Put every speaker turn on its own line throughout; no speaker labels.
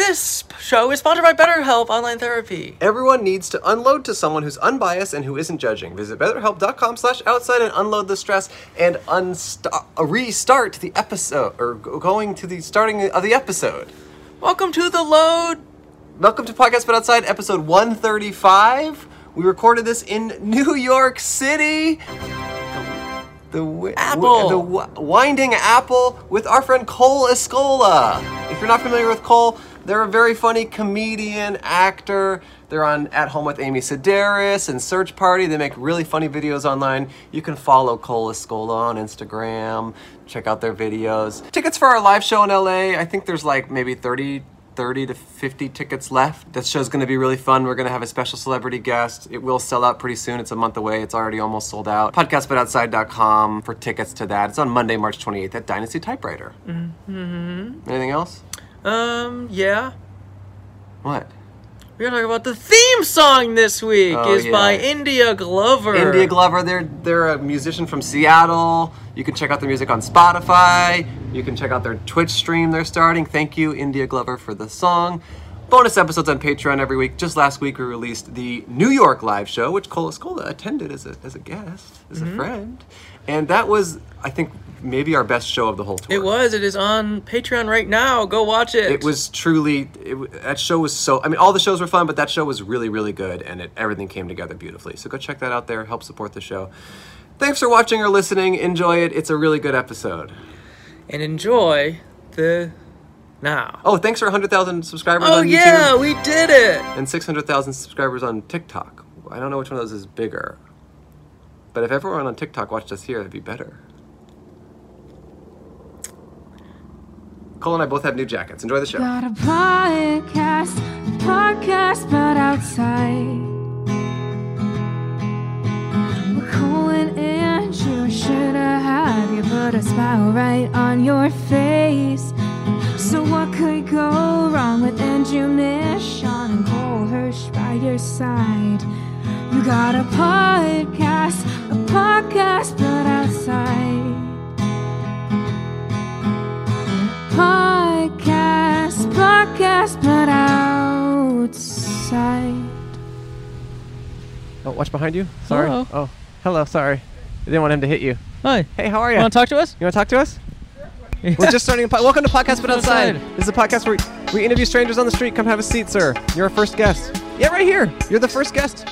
This show is sponsored by BetterHelp Online Therapy.
Everyone needs to unload to someone who's unbiased and who isn't judging. Visit betterhelp.com slash outside and unload the stress and unsta- uh, restart the episode, or go- going to the starting of the episode.
Welcome to the load.
Welcome to Podcast But Outside, episode 135. We recorded this in New York City. The, wi-
Apple.
the wi- Winding Apple with our friend Cole Escola. If you're not familiar with Cole, they're a very funny comedian, actor. They're on At Home with Amy Sedaris and Search Party. They make really funny videos online. You can follow Cole Escola on Instagram. Check out their videos. Tickets for our live show in LA, I think there's like maybe 30 30 to 50 tickets left. That show's gonna be really fun. We're gonna have a special celebrity guest. It will sell out pretty soon. It's a month away. It's already almost sold out. Podcastbutoutside.com for tickets to that. It's on Monday, March 28th at Dynasty Typewriter. Mm-hmm. Anything else?
Um, yeah.
What?
We're gonna talk about the theme song this week
Oh,
is
yeah.
by India Glover.
India Glover, they're, they're a musician from Seattle. You can check out their music on Spotify. You can check out their Twitch stream they're starting. Thank you, India Glover, for the song. Bonus episodes on Patreon every week. Just last week, we released the New York live show, which Cole Escola attended as a, as a guest, as
Mm-hmm.
a friend. And that was, I think, maybe our best show of the whole tour.
It was. It is on Patreon right now. Go watch it.
It was truly it, w- that show was so. I mean, all the shows were fun, but that show was really, really good, and it, everything came together beautifully. So go check that out there. Help support the show. Thanks for watching or listening. Enjoy it. It's a really good episode.
And enjoy the now.
Oh, thanks for 100,000 subscribers
Oh,
on
yeah,
YouTube
we did it.
and 600,000 subscribers on TikTok. I don't know which one of those is bigger, but if everyone on TikTok watched us here, it'd be better. Cole and I both have new jackets. Enjoy the show.
Got a podcast, a podcast, but outside. We're calling and you should have had you put a smile right on your face. So what could go wrong with Andrew Michon and Cole Hirsch by your side? You got a podcast, a podcast, but outside. podcast, podcast, but outside.
Oh, watch behind you. Sorry.
Hello.
Oh, hello. Sorry. I didn't want him to hit you.
Hi.
Hey, how are you?
You want to talk to us?
You want to talk to us? We're just starting. A po- Welcome to Podcast But Outside.
Outside.
This is a podcast where we interview strangers on the street. Come have a seat, sir. You're our first guest. Yeah, right here. You're the first guest.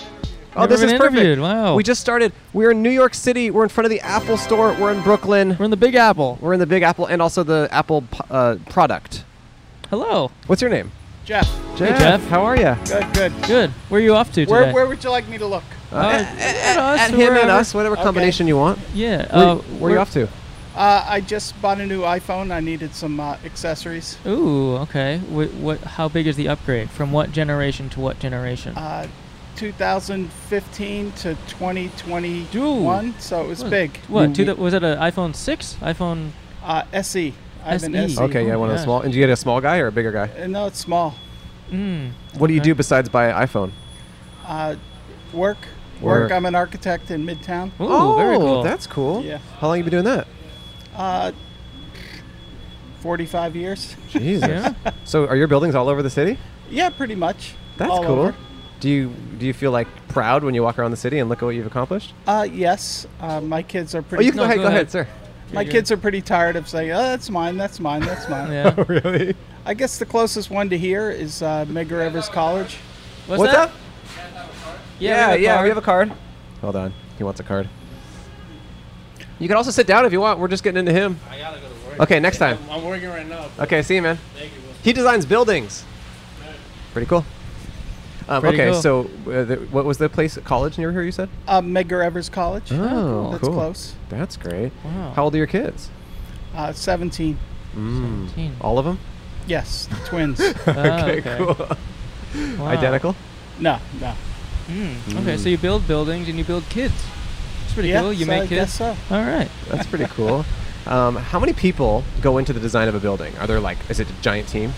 Oh,
Never
this
been
is perfect.
interviewed. Wow.
We just started. We're in New York City. We're in front of the Apple store. We're in Brooklyn.
We're in the Big Apple.
We're in the Big Apple and also the Apple p- uh, product.
Hello.
What's your name?
Jeff.
Jeff.
Jeff.
How are you?
Good, good.
Good. Where are you off to today?
Where, where would you like me to look?
Uh, at us,
At
or
him and
wherever.
us, whatever
Okay.
combination you want.
Yeah.
Where,
uh,
where are you off to?
Uh, I just bought a new iPhone. I needed some uh, accessories.
Ooh, okay. What, what? How big is the upgrade from what generation to what generation?
Uh, 2015 to 2021, so it was big.
what? To the, was it an iPhone six? iPhone?
Uh, SE. I have an
SE.
SE.
Okay, yeah,
Oh
one of the
gosh.
small. And do you get a small guy or a bigger guy?
Uh, No, it's small.
Mm,
What do you
Okay.
do besides buy an iPhone?
Uh, work.
Work.
Work. I'm an architect in Midtown.
ooh, very cool.
Oh, That's cool.
Yeah.
How long you been doing that?
Uh, 45 years.
Jesus.
Yeah.
So are your buildings all over the city?
yeah, pretty much.
That's
All
cool.
over.
Do you do you feel like proud when you walk around the city and look at what you've accomplished?
Uh, yes. Uh, my kids are
Oh,
pretty.
you can go
No,
ahead. Go
go
ahead,
ahead.
sir.
my
good.
kids are pretty tired of saying, "Oh, that's mine. That's mine. That's mine."
yeah.
Oh, really?
I guess the closest one to here is uh, Mega Rivers College.
What's,
What's
that?
up?
Yeah, we have a card.
a card. Hold on. He wants a card. You can also sit down if you want. We're just getting into him.
I gotta go to work.
Okay, next time.
I'm, I'm working right now. but
Okay, see you, man.
Thank you.
He designs buildings. Pretty cool. Um,
Pretty
okay,
cool.
so uh, the, what was the place? College near here? You said?
Uh, Medgar Evers College.
Oh,
That's
cool.
close.
That's great.
Oh.
Wow.
How old are your kids?
Uh, 17.
Seventeen.
All of them?
Yes, the twins.
Ah,
cool.
Wow.
Identical?
No, no.
Mm, Okay, so you build buildings and you build kids. It's pretty
yeah,
cool. You
so I
make
guess
kids.
so.
All right.
That's pretty cool. Um, how many people go into the design of a building? Are there like, is it a giant team?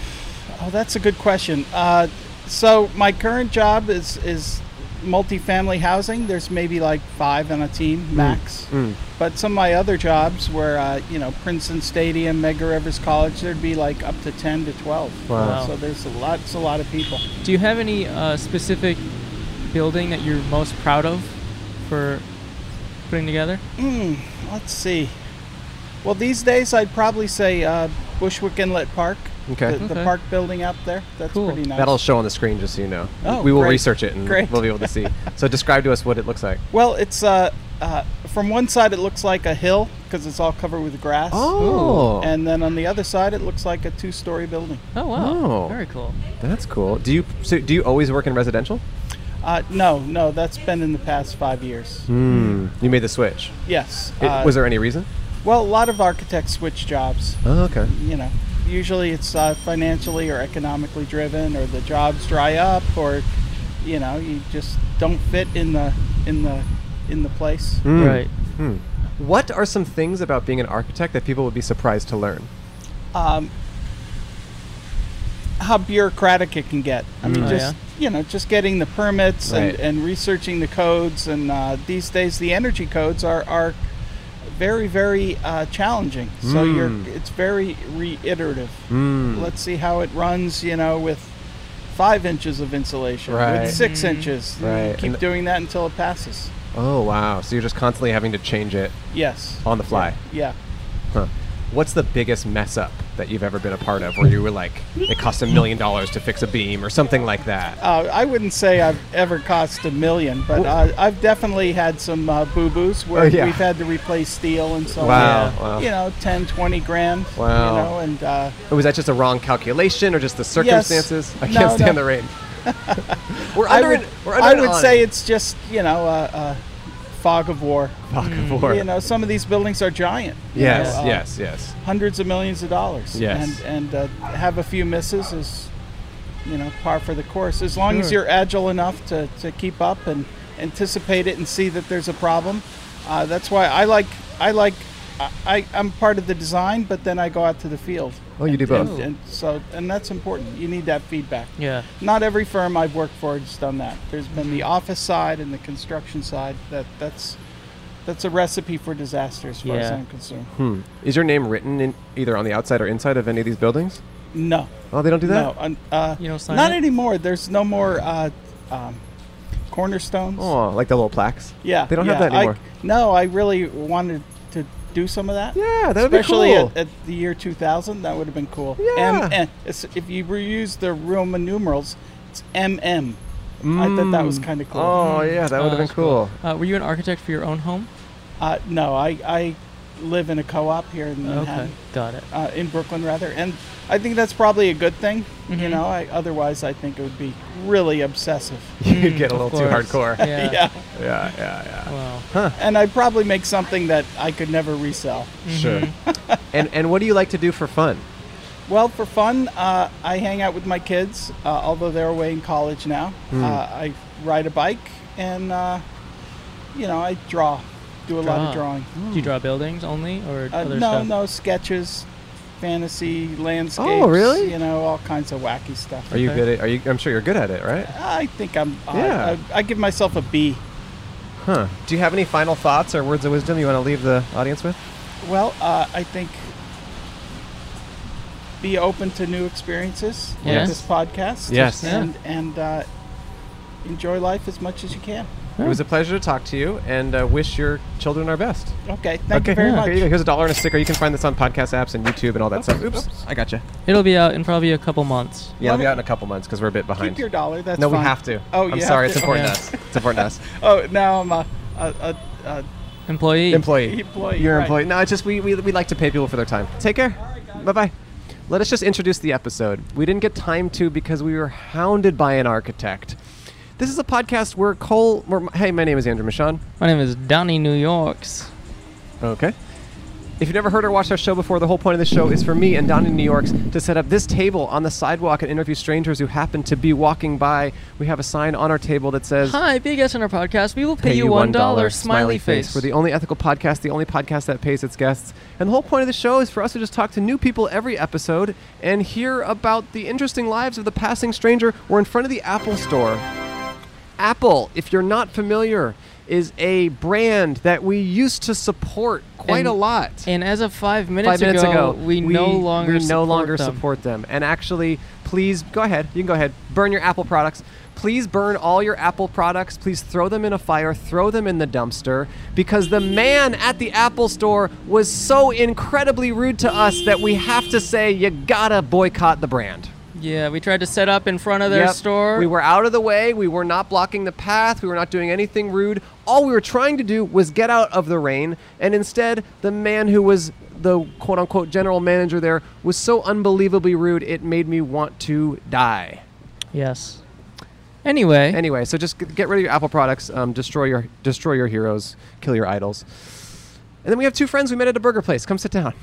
Oh, that's a good question. Uh, so my current job is is multifamily housing, there's maybe like five on a
Hmm.
team max. But some of my other jobs were, uh, you know, Princeton Stadium, Mega Rivers College, there'd be like up to 10 to 12.
Wow.
Wow.
So there's a lot, it's a lot of people.
Do you have any uh, specific building that you're most proud of for putting together?
Hmm, let's see. Well, these days I'd probably say uh, Bushwick Inlet Park.
Okay.
The, the
Okay.
park building out there. That's
Cool.
pretty nice.
That'll show on the screen just so you know.
Oh,
we will
great.
research it and
Great.
we'll be able to see. So describe to us what it looks like.
Well, it's uh, uh, from one side it looks like a hill because it's all covered with grass.
Oh.
And then on the other side it looks like a two-story building.
Oh wow,
Oh.
very cool.
That's cool. Do you so do you always work in residential?
Uh, no, no, that's been in the past five years.
Hmm. You made the switch.
Yes.
It-
uh,
was there any reason?
Well, a lot of architects switch jobs.
Oh, okay.
You know, usually it's uh, financially or economically driven, or the jobs dry up, or you know, you just don't fit in the in the in the place.
Hmm.
Right.
Hmm. What are some things about being an architect that people would be surprised to learn?
um, how bureaucratic it can get. I mean,
Mm. Oh,
just you know, just getting the permits
Right.
and, and researching the codes, and uh, these days the energy codes are are very very uh, challenging. So
Mm.
you're it's very reiterative.
Mm.
Let's see how it runs. You know, with five inches of insulation,
Right.
with six
Mm.
inches. You
Right.
Keep
And-
doing that until it passes.
Oh wow! So you're just constantly having to change it
Yes.
on the fly.
Yeah.
Huh. What's the biggest mess up that you've ever been a part of, where you were like, it cost a million dollars to fix a beam or something like that?
Uh, I wouldn't say I've ever cost a million, but uh, I've definitely had some uh, boo boos where
Oh, yeah.
we've had to replace steel and so
Wow,
on.
wow.
You know, 10, 20 grand.
Wow.
You know, and uh,
Or was that just a wrong calculation, or just the circumstances? I
No,
can't stand
no.
the rain. we're
I
under.
would,
an, we're under
I
an
would
awning.
say it's just, you know, uh, uh, fog of war.
Fuck, war.
Mm, You know, some of these buildings are giant. you
Yes,
know, uh,
yes, yes.
Hundreds of millions of dollars.
Yes.
And, and uh, have a few misses is, you know, par for the course. As long as
Sure.
you're agile enough to, to keep up and anticipate it and see that there's a problem. Uh, that's why I like I like I- I, I'm part of the design, but then I go out to the field.
Oh, you do
And,
both.
and so and that's important. You need that feedback.
Yeah.
Not every firm I've worked for has done that. There's been the office side and the construction side. That that's that's a recipe for disaster, as far as
Yeah.
I'm concerned.
Hmm. Is your name written in either on the outside or inside of any of these buildings?
No,
Oh, they don't do
no,
that.
un- uh,
You don't sign
not
it?
anymore. There's no more uh, um, cornerstones.
Oh, like the little plaques.
yeah,
They don't have
yeah.
that
I-
anymore.
no, I really wanted to do some of that.
yeah, that would be cool.
Especially at, at the year 2000, that would have been cool.
Yeah.
M- and it's- if you reuse the Roman numerals, it's MM. I thought that was
Mm.
kind of cool.
Oh yeah, that
Oh,
would have been
that's cool.
cool.
Uh, were you an architect for your own home?
Uh, no, I, I live in a co-op here in Manhattan,
Okay, got it.
uh, in Brooklyn rather, and I think that's probably a good thing. You
Mhm.
know, I, otherwise I think it would be really obsessive.
You'd get a
of
little too
course.
hardcore.
Yeah.
yeah,
yeah, yeah.
Wow.
and I'd probably make something that I could never resell.
yeah. Sure. and and what do you like to do for fun?
Well, for fun, uh, I hang out with my kids, uh, although they're away in college now.
Hmm.
Uh, I ride a bike, and uh, you know, I draw, do a lot of
Draw.
drawing.
Do you draw buildings only, or
Uh,
other
no,
stuff?
no sketches, fantasy landscapes.
Oh, really?
You know, all kinds of wacky stuff.
Are you
Okay.
good at? Are you? I'm sure you're good at it, right?
I think I'm. I-
Yeah.
I, I give myself a B.
Huh. Do you have any final thoughts or words of wisdom you want to leave the audience with?
Well, uh, I think be open to new experiences like
Yes.
this podcast.
Yes.
Yeah.
and and uh, enjoy life as much as you can.
It was a pleasure to talk to you, and uh, wish your children our best.
Okay, thank
okay.
you very
Here
much.
you go. Here's a dollar and a sticker. You can find this on podcast apps and YouTube and all that stuff. Oops, I got you.
It'll be out in probably a couple months.
Yeah, I'll be out in a couple months because we're a bit behind.
Keep your dollar. That's
no, we
fine.
have to.
Oh, you
I'm
have
sorry.
to?
It's important
Yeah.
to us. It's important to us.
Oh, now I'm a, a, a, a
Employee.
employee.
Employee,
You're
right.
employee. No, it's just we, we, we like to pay people for their time. Take care. bye bye. Let us just introduce the episode. We didn't get time to because we were hounded by an architect. This is a podcast where Cole. Where, hey, my name is Andrew Michon.
My name is Donnie New Yorks.
Okay. If you've never heard or watched our show before, the whole point of the show is for me and Don in New York's to set up this table on the sidewalk and interview strangers who happen to be walking by. We have a sign on our table that says
Hi, Big S on our podcast. We will pay, you one dollar. Smiley face.
We're the only ethical podcast, the only podcast that pays its guests. And the whole point of the show is for us to just talk to new people every episode and hear about the interesting lives of the passing stranger. We're in front of the Apple Store. Apple, if you're not familiar, is a brand that we used to support quite
And-
a lot.
And as of five minutes,
Five minutes ago,
we, no longer
we no
support
longer
them.
support them. And actually, please go ahead. You can go ahead. Burn your Apple products. Please burn all your Apple products. Please throw them in a fire. Throw them in the dumpster because the man at the Apple store was so incredibly rude to us that we have to say you gotta boycott the brand.
Yeah, we tried to set up in front of their
Yep.
store.
We were out of the way. We were not blocking the path. We were not doing anything rude. All we were trying to do was get out of the rain. And instead, the man who was the quote unquote general manager there was so unbelievably rude, it made me want to die.
yes. Anyway,
Anyway, so just g- get rid of your Apple products, um, destroy, your, destroy your heroes, kill your idols. And then we have two friends we met at a burger place. Come sit down.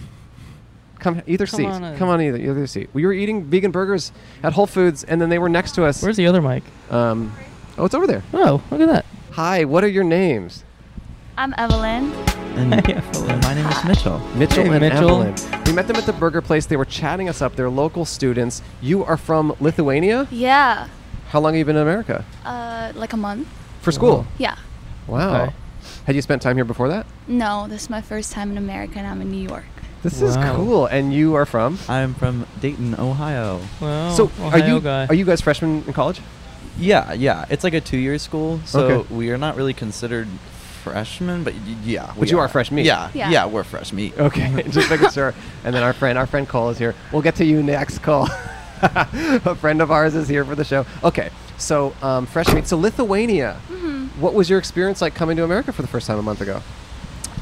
Come either seat.
on in.
Come on either either seat. We were eating vegan burgers at Whole Foods, and then they were next to us.
where's the other mic?
Um, oh, it's over there.
Oh, look at that.
Hi, what are your names?
I'm Evelyn.
And and my name is Mitchell.
Mitchell
Hey,
and
Mitchell.
Evelyn. We met them at the burger place. They were chatting us up. They're local students. You are from Lithuania?
Yeah.
How long have you been in America?
Uh, like a month.
For school?
Yeah.
Wow.
Okay.
Had you spent time here before that?
No, this is my first time in America, and I'm in New York.
This
Wow.
is cool. And you are from?
I'm from Dayton, Ohio.
Wow.
so
Oh, Ohio
are you
guy.
are you guys freshmen in college?
Yeah, yeah. It's like a two-year school, so
Okay.
we are not really considered freshmen, but y- yeah.
But
we
you are
are
fresh meat.
Yeah,
Yeah.
yeah. we're fresh meat.
Okay, just making sure. And then our friend, our friend Cole is here. We'll get to you next, Cole. a friend of ours is here for the show. Okay, so um, fresh meat. So Lithuania. What was your experience like coming to America for the first time a month ago?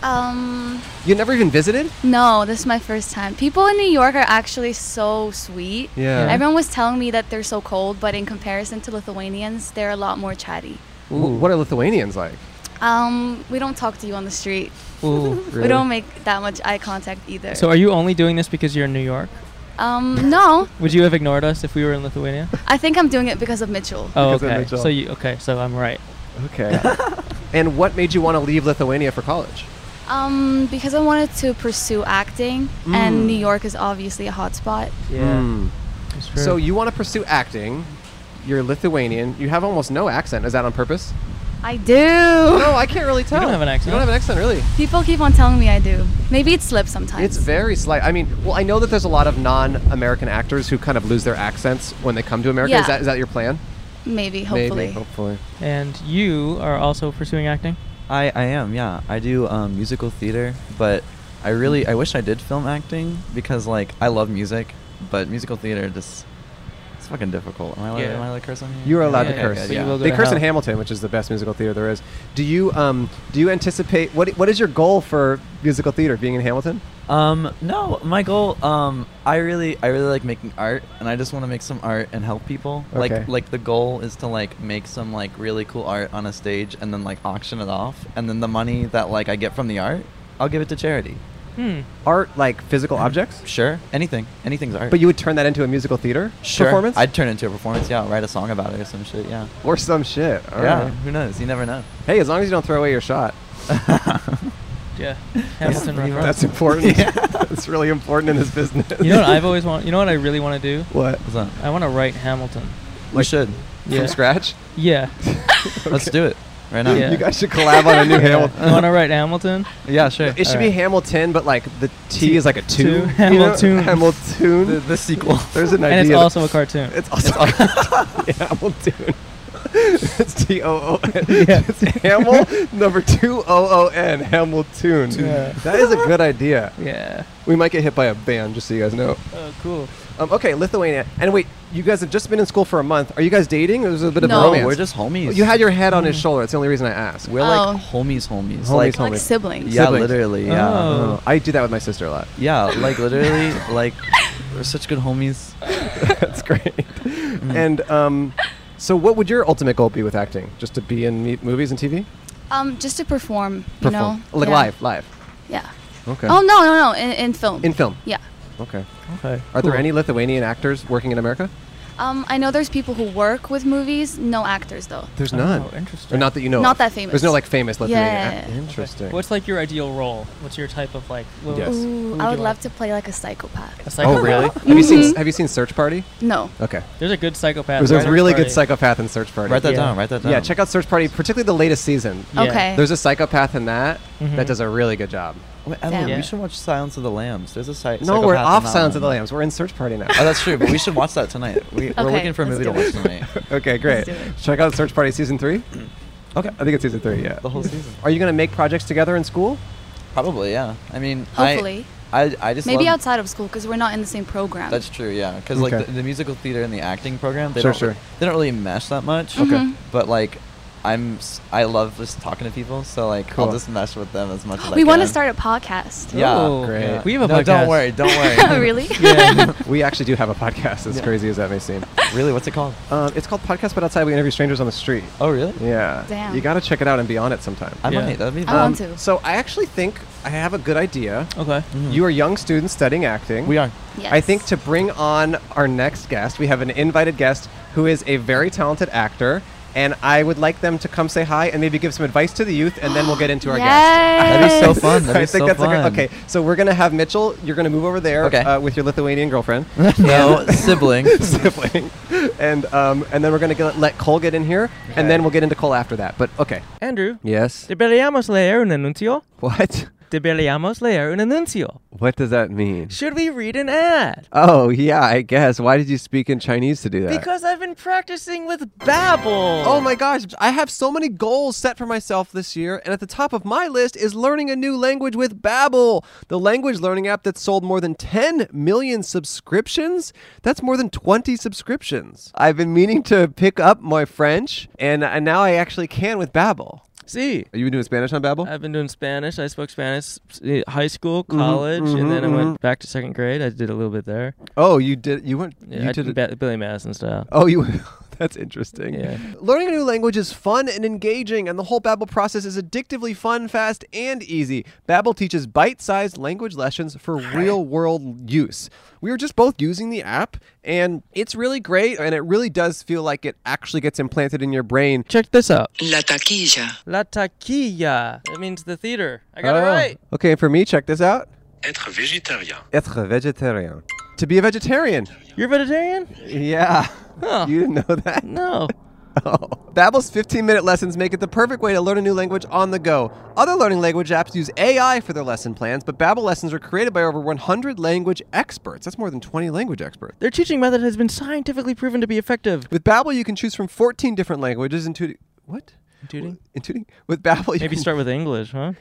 Um,
You never even visited?
no, this is my first time. People in New York are actually so sweet.
Yeah.
Everyone was telling me that they're so cold, but in comparison to Lithuanians, they're a lot more chatty.
W- What are Lithuanians like?
Um, we don't talk to you on the street.
Ooh.
Really?
We don't make that much eye contact either.
So are you only doing this because you're in New York?
um, no,
Would you have ignored us if we were in Lithuania?
I think I'm doing it because of Mitchell.
Oh,
Because of
okay.
Mitchell.
So you okay? So I'm right.
Okay. and what made you want to leave Lithuania for college?
Um, because I wanted to pursue acting,
Mm.
and New York is obviously a hotspot.
Mm.
That's true.
So you want to pursue acting? You're Lithuanian. You have almost no accent. Is that on purpose?
I do.
No, I can't really tell.
have an
You
accent.
don't have an accent, really.
People keep on telling me I do. Maybe it slips sometimes.
It's very slight. I mean, well, I know that there's a lot of non-American actors who kind of lose their accents when they come to America. Is
Yeah.
that is that your plan?
maybe, hopefully.
Maybe. Hopefully.
and you are also pursuing acting.
I, I am, yeah. I do um, musical theater, but I really I wish I did film acting because like I love music, but musical theater just it's fucking difficult. Am I allowed,
Yeah.
am I allowed to curse on here?
You are allowed
Yeah,
to
yeah,
curse.
good,
yeah.
You will go
They
to
curse in
hell.
Hamilton, which is the best musical theater there is. Do you um do you anticipate what what is your goal for musical theater? Being in Hamilton?
Um, no, my goal. Um, I really, I really like making art, and I just want to make some art and help people.
Okay.
Like, like the goal is to like make some like really cool art on a stage, and then like auction it off, and then the money that like I get from the art, I'll give it to charity.
Hmm.
Art like physical objects?
Sure, anything, anything's art.
But you would turn that into a musical theater
sure,
performance?
I'd turn it into a performance. Yeah, I'll write a song about it or some shit. Yeah,
or some shit. All
yeah.
right.
Who knows? You never know.
Hey, as long as you don't throw away your shot.
Yeah. Hamilton.
pretty
reference.
much.
That's important. That's really important in this business.
You know what I've always want. You know what I really want to do?
what?
What's that?
I want to write Hamilton.
we should.
Yeah.
From scratch?
Yeah.
Let's do it right now.
Yeah.
You guys should collab on a new Hamilton.
I want to write Hamilton.
Yeah, sure.
It should be Hamilton, but like the T, is like a two.
two.
you know?
Hamiltoon.
Hamiltoon.
the, the sequel.
There's an idea.
And it's
that-
also a cartoon.
It's also Yeah, Hamiltoon. it's T O O N. It's Hamil number two O O N. Hamiltoon.
Yeah.
That is a good idea.
Yeah.
We might get hit by a band, just so you guys know.
Oh, cool.
Um, okay, Lithuania. And wait, you guys have just been in school for a month. Are you guys dating? There's a bit of
No. Mm.
Oh,
romance.
we're just homies.
You had your head on his shoulder. That's the only reason I asked.
We're
Oh.
like homies, homies.
Homies,
like,
Like
Homie.
siblings.
Yeah,
Siblings.
literally. Yeah.
Oh.
Oh, I do that with my sister a lot.
Yeah, like literally, like we're such good homies.
That's great. And um, so, what would your ultimate goal be with acting? Just to be in me- movies and TV?
Um, just to perform, you
Perform.
know.
Like
yeah.
live, live.
Yeah.
Okay.
Oh no, no, no, in, in film.
In film.
yeah.
Okay.
Okay.
Are
cool.
there any Lithuanian actors working in America?
Um, I know there's people who work with movies, no actors though.
There's
Oh,
none.
interesting.
Or not that you know.
Not
of.
that famous.
There's no like famous Lithuanian. act-
Yeah.
Interesting.
What's like your ideal role? What's your type of like? What
Yes.
would-
Ooh,
what would
I
you
would love
like?
to play like a psychopath.
A
Oh
psychopath?
really? Have you
Mm-hmm.
seen Have you seen Search Party?
No.
Okay.
There's a good psychopath.
There's
right?
a really good
Sorry.
psychopath in Search Party.
Write that
Yeah.
down. Write that down.
Yeah, check out Search Party, particularly the latest season.
Yeah.
Okay.
There's a psychopath in that that
Mm-hmm.
Mhm.
does a really good job.
Wait, Evelyn,
Yeah.
we should watch Silence of the Lambs. There's a site.
No, we're off Silence of the Lambs. We're in Search Party now.
Oh, that's true. But we should watch that tonight. We, we're
Okay,
looking for a
let's
movie to
do
watch
it.
tonight.
okay, great.
do it.
Check out Search Party season three.
Okay.
I think it's season three. Yeah.
The whole season.
Are you gonna make projects together in school?
Probably, yeah. I mean, I-
Hopefully.
I, I, just
Maybe
love-
outside of school because we're not in the same program.
That's true, yeah. Because
Okay.
like the, the musical theater and the acting program, they
Sure,
don't
sure.
they don't really mesh that much.
Mm-hmm.
Okay. Mhm.
But like, I'm s- I love just talking to people, so like
Cool.
I'll just mesh with them as much as I
we want to
can.
start a podcast. Oh,
Yeah,
Ooh,
Great.
yeah.
We have a
no, Don't
podcast.
worry, don't worry.
really?
Yeah.
we actually do have a podcast. As
Yeah.
crazy as that may seem.
really, what's it called?
Um, it's called Podcast But Outside. We interview strangers on the street.
Oh, really?
Yeah.
Damn.
You gotta check it out and be on it sometime. Um,
I
Yeah.
might. That'd be.
I
Oh.
fun.
want to.
So I actually think I have a good idea.
okay.
Mhm.
You are young students studying acting.
We are.
Yes.
I think to bring on our next guest, we have an invited guest who is a very talented actor, and I would like them to come say hi and maybe give some advice to the youth, and then we'll get into our guest.
That'd be so
Yes.
fun. That'd
I
be
think
so
that's a
fun.
good, okay. So we're gonna have Mitchell. You're gonna move over there
Okay.
uh, with your Lithuanian girlfriend,
no sibling.
sibling, and um, and then we're gonna get, let Cole get in here, and then we'll get into Cole after that. But okay.
Andrew,
Yes.
debeliamos leer un anuncio.
What?
Debeliamos leer un anuncio.
What does that mean?
Should we read an ad?
Oh yeah, I guess. Why did you speak in Chinese to do that?
Because I've been practicing with Babbel.
Oh my gosh, I have so many goals set for myself this year, and at the top of my list is learning a new language with Babbel, the language learning app that sold more than 10 million subscriptions. That's more than 20 subscriptions. I've been meaning to pick up my French, and, and now I actually can with Babbel.
See,
Are you doing Spanish on
Uh,
Babbel?
I've been doing Spanish. I spoke Spanish uh, high school,
Mm-hmm,
college, and then I went back to second grade. I did a little bit there.
oh, you did you went
Yeah,
you
I
did
did
it-
ba- Billy Madison style.
Oh, you. That's interesting.
Yeah.
Learning a new language is fun and engaging, and the whole Babbel process is addictively fun, fast, and easy. Babbel teaches bite-sized language lessons for real-world use. We were just both using the app, and it's really great, and it really does feel like it actually gets implanted in your brain.
Check this out.
La taquilla.
La taquilla. That means the theater. I got it
Oh.
right.
Okay, and for me, check this out.
Être végétarien.
Être vegetarian. To be a vegetarian.
You're vegetarian?
Yeah.
Huh.
You didn't know that?
No.
Oh. Babbel's 15-minute lessons make it the perfect way to learn a new language on the go. Other learning language apps use AI for their lesson plans, but Babbel lessons are created by over 100 language experts. That's more than 20 language experts.
Their teaching method has been scientifically proven to be effective.
With Babbel, you can choose from 14 different languages, including what?
Intuiting?
Including with Babbel, you
Maybe
can,
start with English, huh?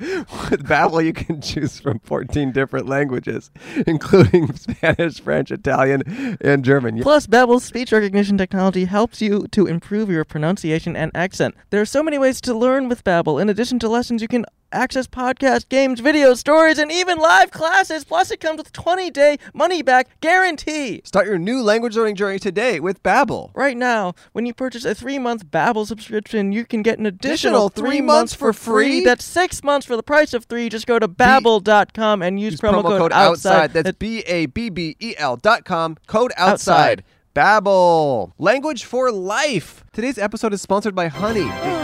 with Babbel you can choose from 14 different languages, including Spanish, French, Italian, and German. Yeah.
Plus, Babbel's speech recognition technology helps you to improve your pronunciation and accent. There are so many ways to learn with Babbel. In addition to lessons, you can access podcasts, games, videos, stories, and even live classes. Plus, it comes with 20-day money-back guarantee.
Start your new language learning journey today with Babbel.
Right now, when you purchase a three-month Babbel subscription, you can get an
Additional
additional,
three months for free?
That's six months for the price of three. Just go to babbel.com and use,
Use promo, code, outside. That's B A B B E L dot com. Code outside.
Outside.
Babbel. Language for life. Today's episode is sponsored by Honey. the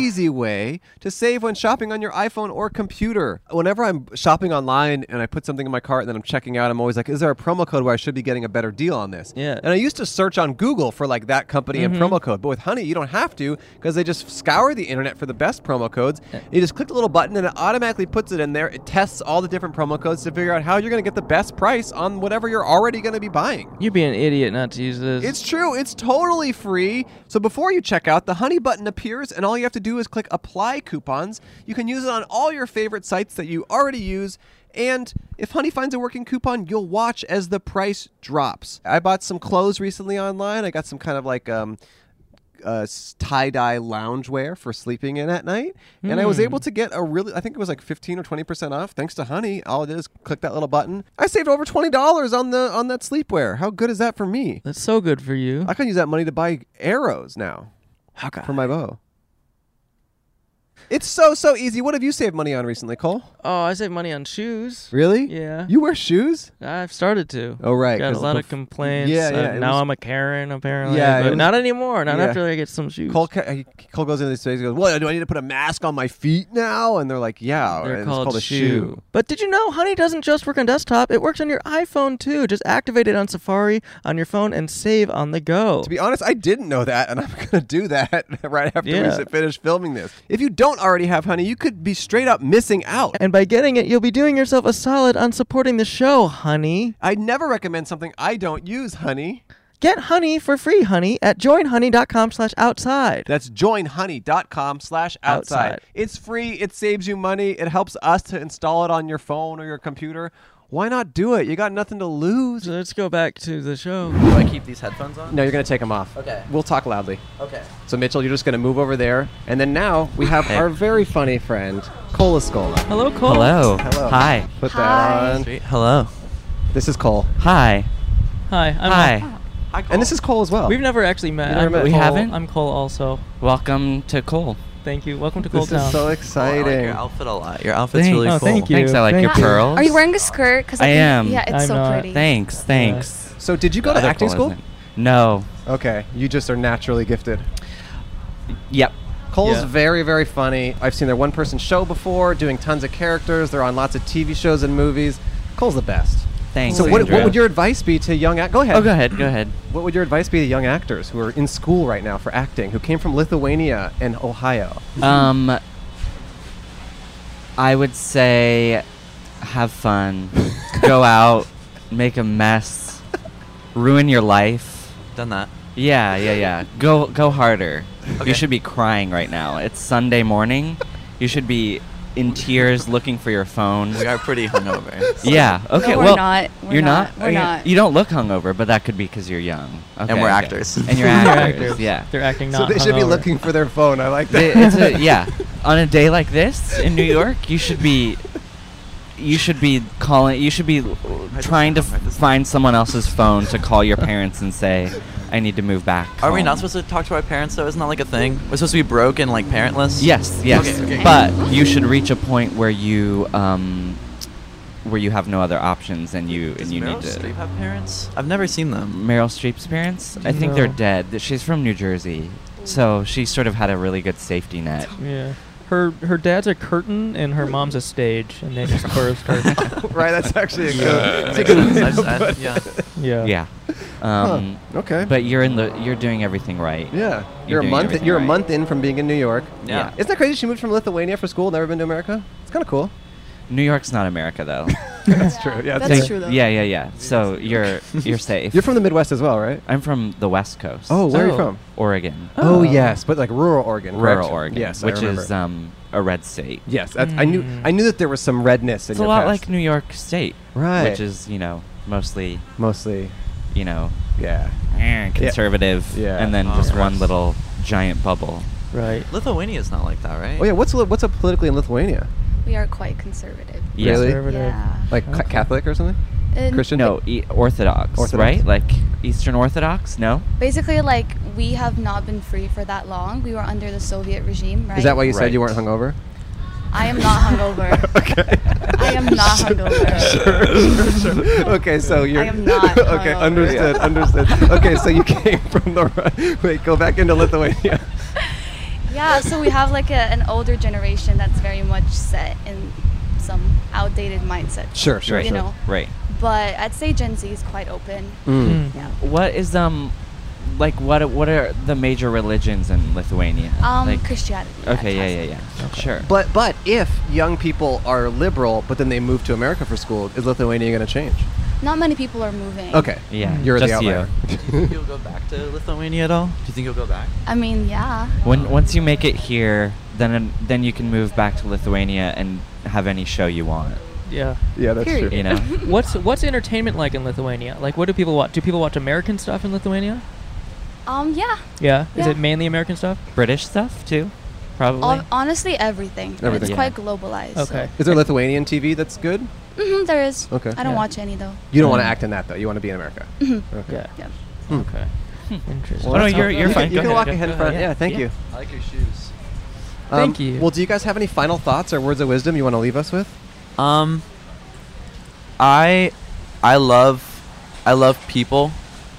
Easy way to save when shopping on your iPhone or computer. Whenever I'm shopping online and I put something in my cart and then I'm checking out, I'm always like, is there a promo code where I should be getting a better deal on this?
Yeah.
And I used to search on Google for like that company and promo code, but with Honey, you don't have to because they just scour the internet for the best promo codes. You just click the little button and it automatically puts it in there. It tests all the different promo codes to figure out how you're going to get the best price on whatever you're already going to be buying.
You'd be an idiot not to use this.
It's true. It's totally free. So before you check out, the Honey button appears, and all you have to do is click Apply Coupons. You can use it on all your favorite sites that you already use. And if Honey finds a working coupon, you'll watch as the price drops. I bought some clothes recently online. I got some kind of like um, uh, tie dye loungewear for sleeping in at night, and I was able to get a really I think it was like fifteen or twenty percent off thanks to Honey. All I did is click that little button. I saved over twenty dollars on the on that sleepwear. How good is that for me?
That's so good for you.
I can use that money to buy arrows now
Hawkeye.
for my bow. It's so so easy. What have you saved money on recently, Cole?
Oh, I save money on shoes.
Really?
Yeah.
You wear shoes?
I've started to.
Oh right.
Got a
'cause
lot
bef-
of complaints.
Yeah,
uh,
yeah, it
now
was-
I'm a Karen apparently.
Yeah,
Yeah,
it
but
was-
not anymore. Not
Yeah.
after I get some shoes.
Cole, ca- he- Cole goes into these space and goes, "What do I need to put a mask on my feet now?" And they're like, "Yeah,
They're
it's
called,
called a
shoe. But did you know Honey doesn't just work on desktop? It works on your iPhone too. Just activate it on Safari on your phone and save on the go.
To be honest, I didn't know that, and I'm going to do that right after we
Yeah.
s- finish filming this. If you don't already have honey, you could be straight up missing out.
and by getting it, you'll be doing yourself a solid on supporting the show, honey.
I never recommend something I don't use, honey.
Get honey for free, honey, at joinhoney.com slash outside.
That's joinhoney.com slash outside.
Outside.
It's free. It saves you money. It helps us to install it on your phone or your computer. Why not do it? You got nothing to lose.
So let's go back to the show.
Do I keep these headphones on?
No, you're going to take them off.
Okay.
We'll talk loudly.
Okay.
So, Mitchell, you're just going to move over there. And then now we have our very funny friend, Cole Escola.
Hello, Cole.
Hello.
Hello.
Hi.
Put
Hi.
that on.
Hello.
This is Cole.
Hi.
Hi. I'm
Hi.
And this is Cole as well.
We've never actually met.
You've never
I'm
met.
Cole.
We
haven't?
I'm Cole also.
Welcome to Cole.
Thank you. Welcome to Cold
this
Town.
is so
Oh, I like
exciting.
your outfit a lot. Your outfit's really
Oh,
cool.
thank you.
Thanks. I like
Thank
your
you.
pearls.
Are you wearing a skirt? Cause I,
I
think-
am.
Yeah, it's
I'm
so
not.
pretty.
Thanks. Thanks.
so, did you go to
Other
acting
Cole
school?
isn't. No.
Okay, you just are naturally gifted.
Yep.
Cole's
Yeah.
very, very funny. I've seen their one person show before, doing tons of characters. They're on lots of TV shows and movies. Cole's the best.
Thanks.
So, what, what
Andrea.
would your advice be to young actors? Go ahead.
Oh, go ahead. Go ahead.
What would your advice be to young actors who are in school right now for acting, who came from Lithuania and Ohio?
Um, I would say, have fun. go out. Make a mess. Ruin your life.
Done that.
Yeah, yeah, yeah. Go go harder.
Okay.
You should be crying right now. It's Sunday morning. You should be in tears looking for your phone.
We are pretty hungover. so-
Yeah. Okay.
No, we're
well,
not. We're
you're
not.
not.
We're
Okay.
not.
You don't look hungover, but that could be because you're young. Okay,
we're
okay.
actors.
And
They're
you're actors.
actors.
Yeah.
They're acting
so
not
they should be
hungover.
looking for their phone. I like
They-
that.
it's a, yeah. On a day like this in New York, you should be. You should be calling. You should be trying to
down, write this down.
find someone else's phone to call your parents and say, "I need to move back."
Are we
home."
not supposed to talk to our parents though? Isn't that like a thing? We're supposed to be broke and like parentless.
Yes, yes.
Okay, okay.
But you should reach a point where you um, where you have no other options, and you
Does
and you
Meryl
need to.
Streep have parents? I've never seen them.
Meryl Streep's parents, I think they're
No.
dead. Th- She's from New Jersey, so she sort of had a really good safety net.
Yeah. Her her dad's a curtain and her mom's a stage, and they just birthed her.
right, that's actually a good.
Makes
that's a good
sense.
way
I've-
to
I've-
put it.
yeah.
Yeah.
Yeah. Um,
Okay.
But you're in the you're doing everything right.
yeah, you're,
You're
a
doing
month.
everything
You're a
right.
month in from being in New York.
Yeah.
Isn't that crazy? She moved from Lithuania for school, never been to America. It's kind of cool.
New York's not America though.
that's true. Yeah,
That's true though.
Yeah, yeah, yeah. So you're you're safe.
You're from the Midwest as well, right?
I'm from the West Coast.
Oh, where are you
Oh.
from?
Oregon.
Oh,
Oh.
yes, but like rural Oregon.
Rural
correct?
Oregon.
Yes, I
which
remember.
is um, a red state.
yes, that's, I knew. I knew that there was some redness in
It's a
your
lot
past.
like New York State,
Right.
Which is you know mostly
mostly.
you know
Yeah.
eh, conservative,
Yeah.
and then
Oh,
just one
yes.
little giant bubble.
Right.
Lithuania's not like that, right?
Oh yeah. What's li- what's up politically in Lithuania?
We are quite conservative.
Yeah.
Really?
Conservative.
Yeah.
Like ca- Catholic or something?
And
Christian?
No, e- Orthodox,
Orthodox.
right? Like Eastern Orthodox? No.
Basically, like we have not been free for that long. We were under the Soviet regime, right?
Is that why you said you
Right.
weren't hungover?
I am not hungover.
okay.
I am not hungover.
sure, sure, sure. Okay, so you're.
am not
okay,
hungover.
understood, understood. Okay, so you came from the. Ru- Wait, go back into Lithuania.
yeah, so we have like a, an older generation that's very much set in some outdated mindset.
Sure, sure,
you
sure.
know.
Right.
But I'd say Gen Z is quite open.
Hmm.
Hmm.
Mm.
Yeah.
What is um, like what what are the major religions in Lithuania?
Um,
like,
Christianity.
Okay.
that's
Yeah. Yeah. Yeah. Sure.
But but if young people are liberal, but then they move to America for school, is Lithuania going to change?
awesome. Not many people are moving.
Okay,
Yeah,
you're the
just you.
outlier.
Do you think you'll go back to Lithuania at all? Do you think you'll go back?
I mean, yeah.
When once you make it here, then then you can move back to Lithuania and have any show you want.
Yeah.
yeah, that's
Period.
true.
You know.
What's what's entertainment like in Lithuania? Like, what do people watch? Do people watch American stuff in Lithuania?
Um, yeah.
Yeah. Is
Yeah. Um,
it mainly American stuff?
British stuff too, probably.
Hon- honestly, everything.
Everything.
It's
Yeah.
quite globalized.
Okay.
Is there Lithuanian TV that's good?
hmm there is.
Okay.
I don't
Yeah.
watch any though.
You don't want to
Mm.
act in that though. You want to be in America. Okay.
Yeah.
Yeah.
Okay. Interesting.
Hmm. Well, no, you're-
you
you're fine.
Can, you
Go
can
ahead,
walk
go-
ahead
go
in front.
ahead.
Yeah, thank
Yeah.
you.
I like your shoes.
Thank you.
Well, do you guys have any final thoughts or words of wisdom you want to leave us with?
Um, I, I love, I love people,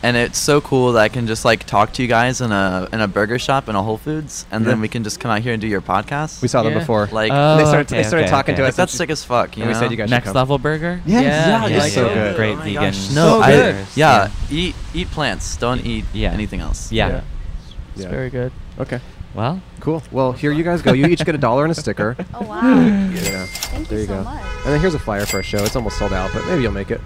and it's so cool that I can just like talk to you guys in a in a burger shop in a Whole Foods, and then
Yeah.
we can just come out here and do your podcast.
We saw them
Yeah.
before.
like
Oh,
they started, they
okay,
started
okay,
talking
okay.
to
like,
us.
that's
and
sick as fuck. You
and we
know?
said you guys should
Next
come.
level burger.
Yeah,
Yeah,
yeah,
yeah,
it's so
yeah.
good.
Great
Oh my
vegan.
gosh, No,
So
I,
good.
yeah, eat eat plants. Don't eat
Yeah.
anything else.
Yeah.
Yeah.
It's
Yeah.
very good.
Okay,
Well,
cool. Well, here you guys go. You each get a dollar and a sticker.
Oh wow!
Yeah.
Thank
There
you
you
so
go.
much.
And then here's a flyer for a show. It's almost sold out, but maybe you'll make it.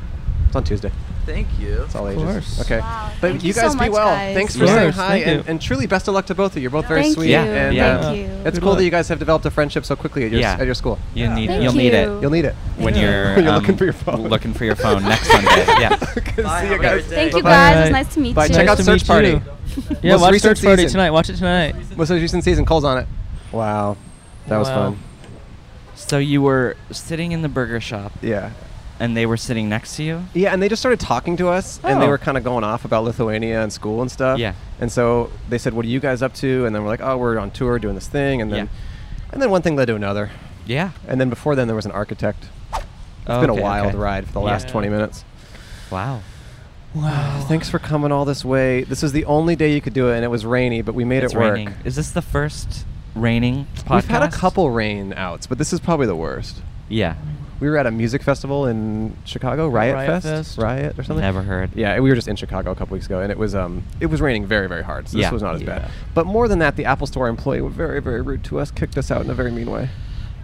It's on Tuesday.
Thank you.
It's all
Of
ages.
course.
Okay.
Wow,
But
thank
you
you so
guys be
much,
well.
guys.
Thanks for
Of
saying
course,
hi,
thank
and,
you.
and truly best of luck to both of you. You're both very
Thank
sweet.
you.
And,
Yeah.
uh,
Thank you.
It's
Good
cool
luck.
that you guys have developed a friendship so quickly at your,
Yeah.
at your school.
you need
Thank
you'll need
you.
it
You'll need it.
when you're,
When you're
um,
looking for your phone.
Looking for your phone next Sunday. Yeah.
Okay, See you
have a
guys.
great day.
Thank you
Bye-bye.
guys. It
Bye.
was nice to meet
Bye.
you.
Check out
to
Search
meet
Party.
you. Yeah,
Most
watch
recent
Search Party
season.
tonight. Watch it tonight.
Most recent season. Cole's on it. Wow. That was
Wow.
fun.
So you were sitting in the burger shop,
Yeah.
and they were sitting next to you.
Yeah, and they just started talking to us, and they
Oh.
were kind of going off about Lithuania and school and stuff.
Yeah.
And so they said, "What are you guys up to?" And then we're like, "Oh, we're on tour doing this thing," and then, and then one thing led to another,
Yeah.
and then before then there was an architect. It's
Oh,
been a
okay,
wild
okay.
ride for the
Yeah.
last 20 minutes.
Wow.
Thanks for coming all this way. This is the only day you could do it, and it was rainy, but we made
it's
it work.
raining. Is this the first raining podcast?
We've had a couple rain outs, but this is probably the worst.
Yeah.
We were at a music festival in Chicago, Riot,
Riot Fest.
Riot or something.
Never heard.
Yeah, we were just in Chicago a couple weeks ago, and it was um, it was raining very, very hard. So
Yeah.
this was not as
Yeah.
bad. But more than that, the Apple Store employee was very, very rude to us, kicked us out in a very mean way.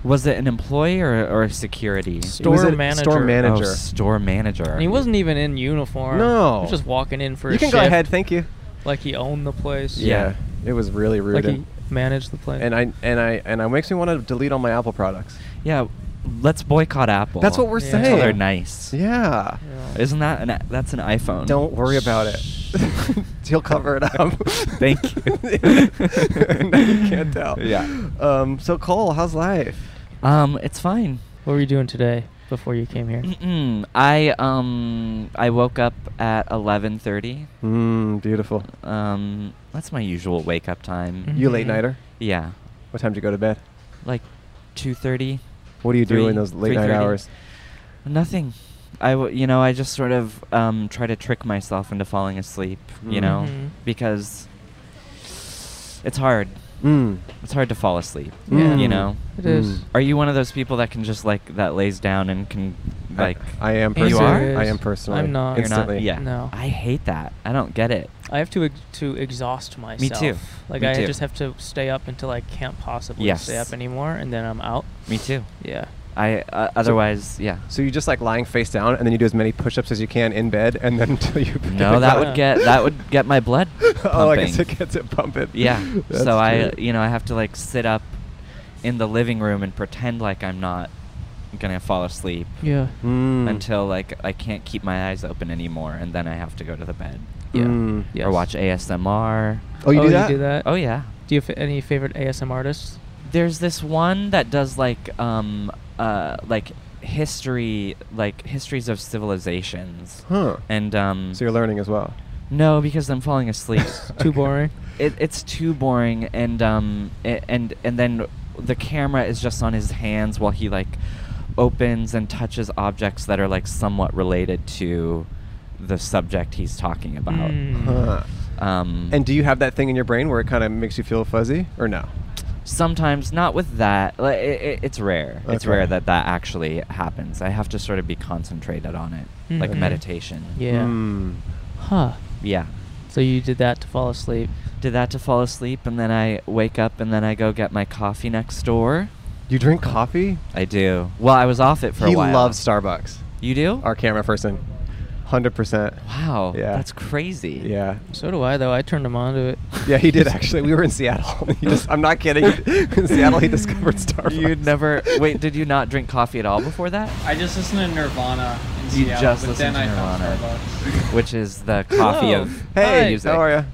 Was it an employee or, or a security?
Store
It was a
manager.
Store manager.
Oh, store manager.
And he wasn't even in uniform.
No.
He was just walking in for
you
a
can
shift.
go ahead. Thank you.
Like he owned the place.
Yeah.
it was really rude.
Like he
and,
managed the place.
and I and I and I makes me want to delete all my Apple products.
Yeah. Let's boycott Apple.
That's what we're
Yeah.
saying.
Until they're nice.
Yeah.
Yeah.
Isn't that an? a- That's an iPhone.
Don't worry about it. He'll cover it up.
Thank you.
now you can't tell.
Yeah.
Um, so Cole, how's life?
Um, it's fine.
What were you doing today before you came here?
Mm-mm. I um I woke up at 11:30.
Mmm, beautiful.
Um, that's my usual wake up time.
Mhm.
You a late nighter?
Yeah,
What time do you go to bed?
like 2:30.
What do you do
Three-
in those late night
3:30.
hours?
Nothing. I w- you know I just sort of um try to trick myself into falling asleep. You know
Mhm.
because it's hard.
Mm.
It's hard to fall asleep.
Yeah.
You
Mm-hmm.
Mm.
know.
It is.
Mm.
Are you one of those people that can just like that lays down and can like?
I, I am
Answer
personally.
is-
I am personally.
I'm not.
you're
Instantly.
not. Yeah.
No.
I hate that. I don't get it.
I have to ex- to exhaust myself.
too.
Like
Me
I
too.
just have to stay up until I can't possibly
Yes.
stay up anymore, and then I'm out.
Me too.
Yeah.
I uh, otherwise yeah.
So you just like lying face down, and then you do as many push-ups as you can in bed, and then until you.
No, that
Yeah.
would get that would get my blood pumping.
oh, I guess it gets it pumping.
yeah.
That's
so I,
true.
you know, I have to like sit up in the living room and pretend like I'm not gonna fall asleep
Yeah.
Mm.
until like I can't keep my eyes open anymore, and then I have to go to the bed
Yeah.
Mm.
Yes.
or watch ASMR.
Oh, you do that?
You do that?
Oh yeah.
Do you have any favorite ASM artists?
There's this one that does like um uh like history like histories of civilizations.
Huh.
And um
So you're learning as well.
no because I'm falling asleep.
Too boring.
it, it's too boring and um a- and and then the camera is just on his hands while he like opens and touches objects that are like somewhat related to the subject he's talking about
Mm.
Huh.
um
Hmm. And do you have that thing in your brain where it kind of makes you feel fuzzy, or no?
sometimes not with that like, it, it, it's rare it's
Okay.
rare that that actually happens i have to sort of be concentrated on it like
Hmm.
Mhm.
meditation
Yeah.
Mm.
Huh.
yeah
So you did that to fall asleep.
did that to fall asleep and then i wake up and then i go get my coffee next door
You drink coffee?
I do. Well, I was off it for
he
a while.
loves Starbucks.
You do?
Our camera person, hundred percent.
wow.
Yeah.
That's crazy.
Yeah.
So do I though. I turned him on to it.
Yeah, he did actually. We were in Seattle. He just, I'm not kidding. In Seattle, he discovered Starbucks.
You'd never. Wait, did you not drink coffee at all before that?
I just listened to Nirvana in
You
Seattle,
just
but
listened
then
to
I found
Nirvana.
Starbucks.
Which is the coffee
Hello.
of
Hi.
Hey,
music.
how are you?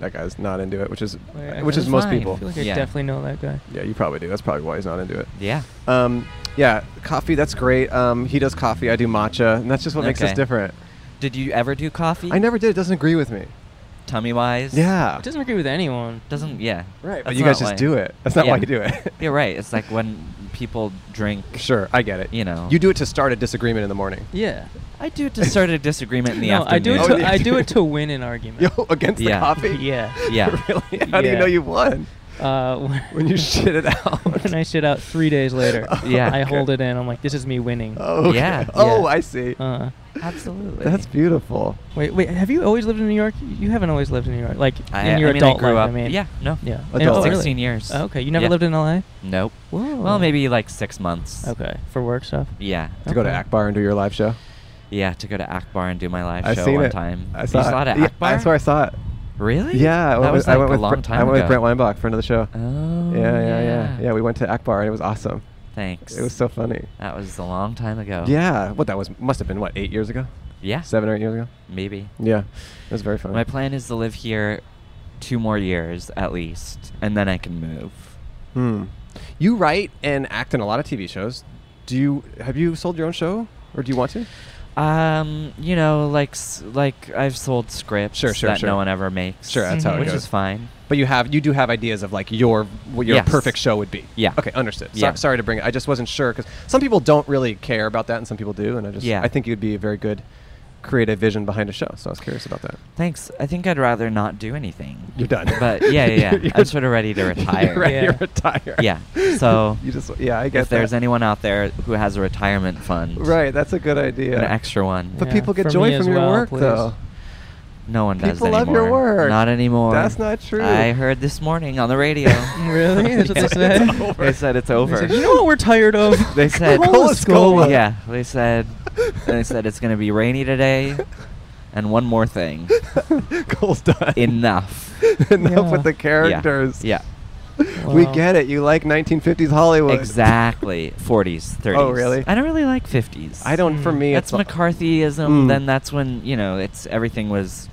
That guy's not into it, which is
Wait, I
which
feel
is most
fine.
I
people.
feel like I
Yeah.
definitely know that guy.
Yeah, you probably do. That's probably why he's not into it.
Yeah.
Um, yeah, coffee. That's great. Um, he does coffee. I do matcha, and that's just what makes us
Okay.
different.
Did you ever do coffee?
I never did. It doesn't agree with me.
tummy wise.
It
Yeah.
doesn't agree with anyone.
Doesn't yeah.
Right, but
That's
you guys
not
just
why-
do it. That's not why
Yeah.
you do it.
You're right. It's like when people drink.
Sure, I get it.
You know.
You do it to start a disagreement in the morning.
Yeah.
I do it to start a disagreement in the
no,
afternoon.
I do it.
Oh,
To,
yeah.
I do it to win an argument.
Yo, against
Yeah.
the coffee?
Yeah.
Yeah.
really? How do you
Yeah.
know you won?
Uh, when,
When you shit it out.
when I shit out three days later,
Yeah.
I
Okay.
hold it in. I'm like, this is me winning.
Oh, okay.
Yeah.
Oh,
Yeah.
I see.
Uh,
Absolutely.
That's beautiful.
wait, wait. Have you always lived in New York? You haven't always lived in New York, like
I,
in your
I mean,
adult
I grew
life.
up.
I mean,
yeah. No.
yeah.
Adult
Oh,
life.
really?
16 years.
Okay, you never
Yeah.
lived in LA.
Nope.
Whoa.
Well, maybe like six months.
Okay, for work stuff.
Yeah.
To go to
Okay.
Akbar and do your live show.
Yeah, to go to Akbar and do my live
I've
show
seen
one
it.
time.
I
You
saw it.
saw it at
Yeah,
Akbar?
That's where I saw it.
Really?
Yeah, I
that
went
was
with, I
like
went
a
with
long
Bre-
time
I went
ago.
with Brent Weinbach, friend of the show.
Oh.
yeah, yeah, yeah, yeah. We went to Akbar and it was awesome.
Thanks.
It was so funny.
That was a long time ago.
Yeah, what that was must have been what eight years ago,
oh. Yeah.
seven or eight years ago.
Maybe.
Yeah, it was very funny.
My plan is to live here two more years at least, and then I can move.
Hmm.
You write and act in a lot of TV shows.
Do you have you sold your own show or do you want to?
Um, you know, like s- like I've sold scripts
Sure, sure,
that
sure.
no one ever makes.
Sure, that's how it
which
goes.
is fine.
But you have you do have ideas of like your what your
Yes.
perfect show would be.
Yeah.
Okay, understood. So-
Yeah.
sorry to bring it. I just wasn't sure because some people don't really care about that, and some people do. And I just
Yeah.
I think you'd be a very good creative vision behind a show. So I was curious about that.
Thanks. I think I'd rather not do anything.
You're done.
But yeah, yeah, yeah. I'm
You're-
sort of ready to retire.
You're ready
Yeah.
to retire.
Yeah. So
You just yeah, I guess
if there's anyone out there who has a retirement fund,
right, that's a good idea.
an extra one,
But
Yeah,
people get
for
joy
me
from
as
your
well,
work
please.
though.
no one does
people love your
anymore.
work.
Not anymore.
That's not true.
I heard this morning on the radio.
Really? That's what they said? It's over.
They said it's over.
You know what we're tired of?
They said
Cola.
Yeah, they said they said it's gonna be rainy today, and one more thing.
Cole's done.
Enough.
Enough
Yeah.
with the characters.
Yeah.
We
Wow.
get it. You like 1950s Hollywood.
Exactly. 40s, 30s.
really?
I don't really like 50s.
I don't. For me,
That's
it's
McCarthyism.
Mm.
Then that's when you know it's everything was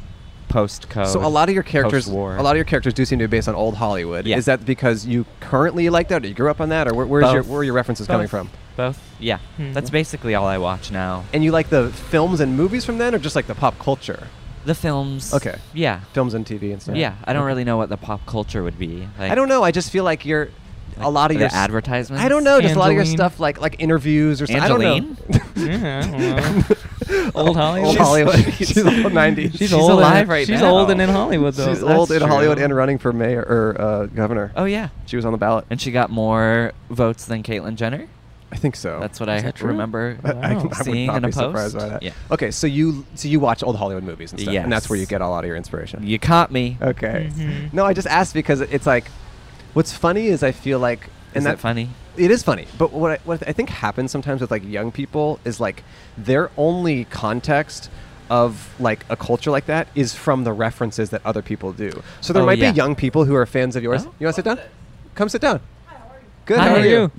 post code.
So a lot of your characters,
war.
a lot of your characters do seem to be based on old Hollywood.
Yeah.
Is that because you currently like that, or you grew up on that, or where, where's your
Both.
where are your references coming from?
both. Yeah,
Hmm.
that's basically all I watch now.
And you like the films and movies from then, or just like the pop culture,
The films.
Okay.
Yeah.
films and TV and stuff?
Yeah. I don't really know what the pop culture would be. Like,
I don't know. I just feel like you're a lot of
the
your s-
advertisements.
I don't know. Just a lot of your
Angeline.
stuff, like like interviews or something. I don't know.
Angeline?
Yeah, I don't know. old Hollywood.
Old
She's-
Hollywood.
she's old 90s.
She's,
She's
old and-
alive right
She's
now.
old and in Hollywood though.
She's old in
true.
Hollywood and running for mayor or uh, governor.
Oh yeah.
She was on the ballot.
And she got more votes than Caitlyn Jenner.
I think
Oh.
so.
That's what I
Is that true?
remember
I, I,
Wow.
would
seeing
not
in a
be
post.
surprised by that.
Yeah.
Okay, so you so you watch old Hollywood movies and stuff, and that's where you
Yes.
get a lot of your inspiration.
You caught me.
Okay.
Mhm.
Mm-hmm.
No, I just asked because it's like, what's funny is I feel like, and
Is
that
that funny?
It is funny, but what I, what I think happens sometimes with like young people is like their only context of like a culture like that is from the references that other people do. So there
Oh,
might
yeah.
be young people who are fans of yours.
Oh.
You want to sit down? Come sit down. Good.
Hi,
how are you?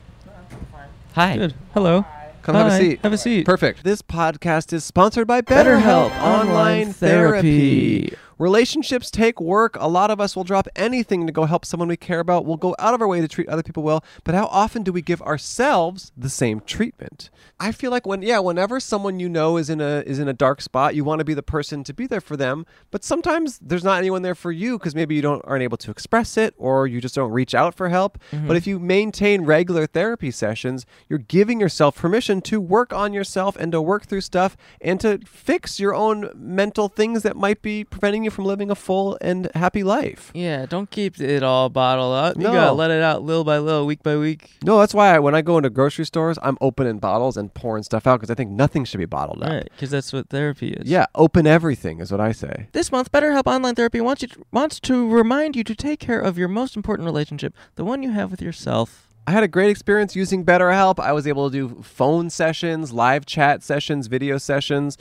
Hi.
Good. Hello.
Come have a
Hi,
seat.
Have a seat.
Perfect. This podcast is sponsored by BetterHelp, online therapy. Relationships take work. A lot of us will drop anything to go help someone we care about. We'll go out of our way to treat other people well, but how often do we give ourselves the same treatment? I feel like when yeah, whenever someone you know is in a is in a dark spot, you want to be the person to be there for them, but sometimes there's not anyone there for you because maybe you don't aren't able to express it or you just don't reach out for help. But if you maintain regular therapy sessions, you're giving yourself permission to work on yourself and to work through stuff and to fix your own mental things that might be preventing you from living a full and happy life.
Yeah, don't keep it all bottled up.
No.
You gotta let it out little by little, week by week.
No, that's why I, when I go into grocery stores, I'm opening bottles and pouring stuff out because I think nothing should be bottled up.
Right, because that's what therapy is.
Yeah, open everything is what I say.
This month, BetterHelp Online Therapy wants you wants to remind you to take care of your most important relationship, the one you have with yourself.
I had a great experience using BetterHelp. I was able to do phone sessions, live chat sessions, video sessions.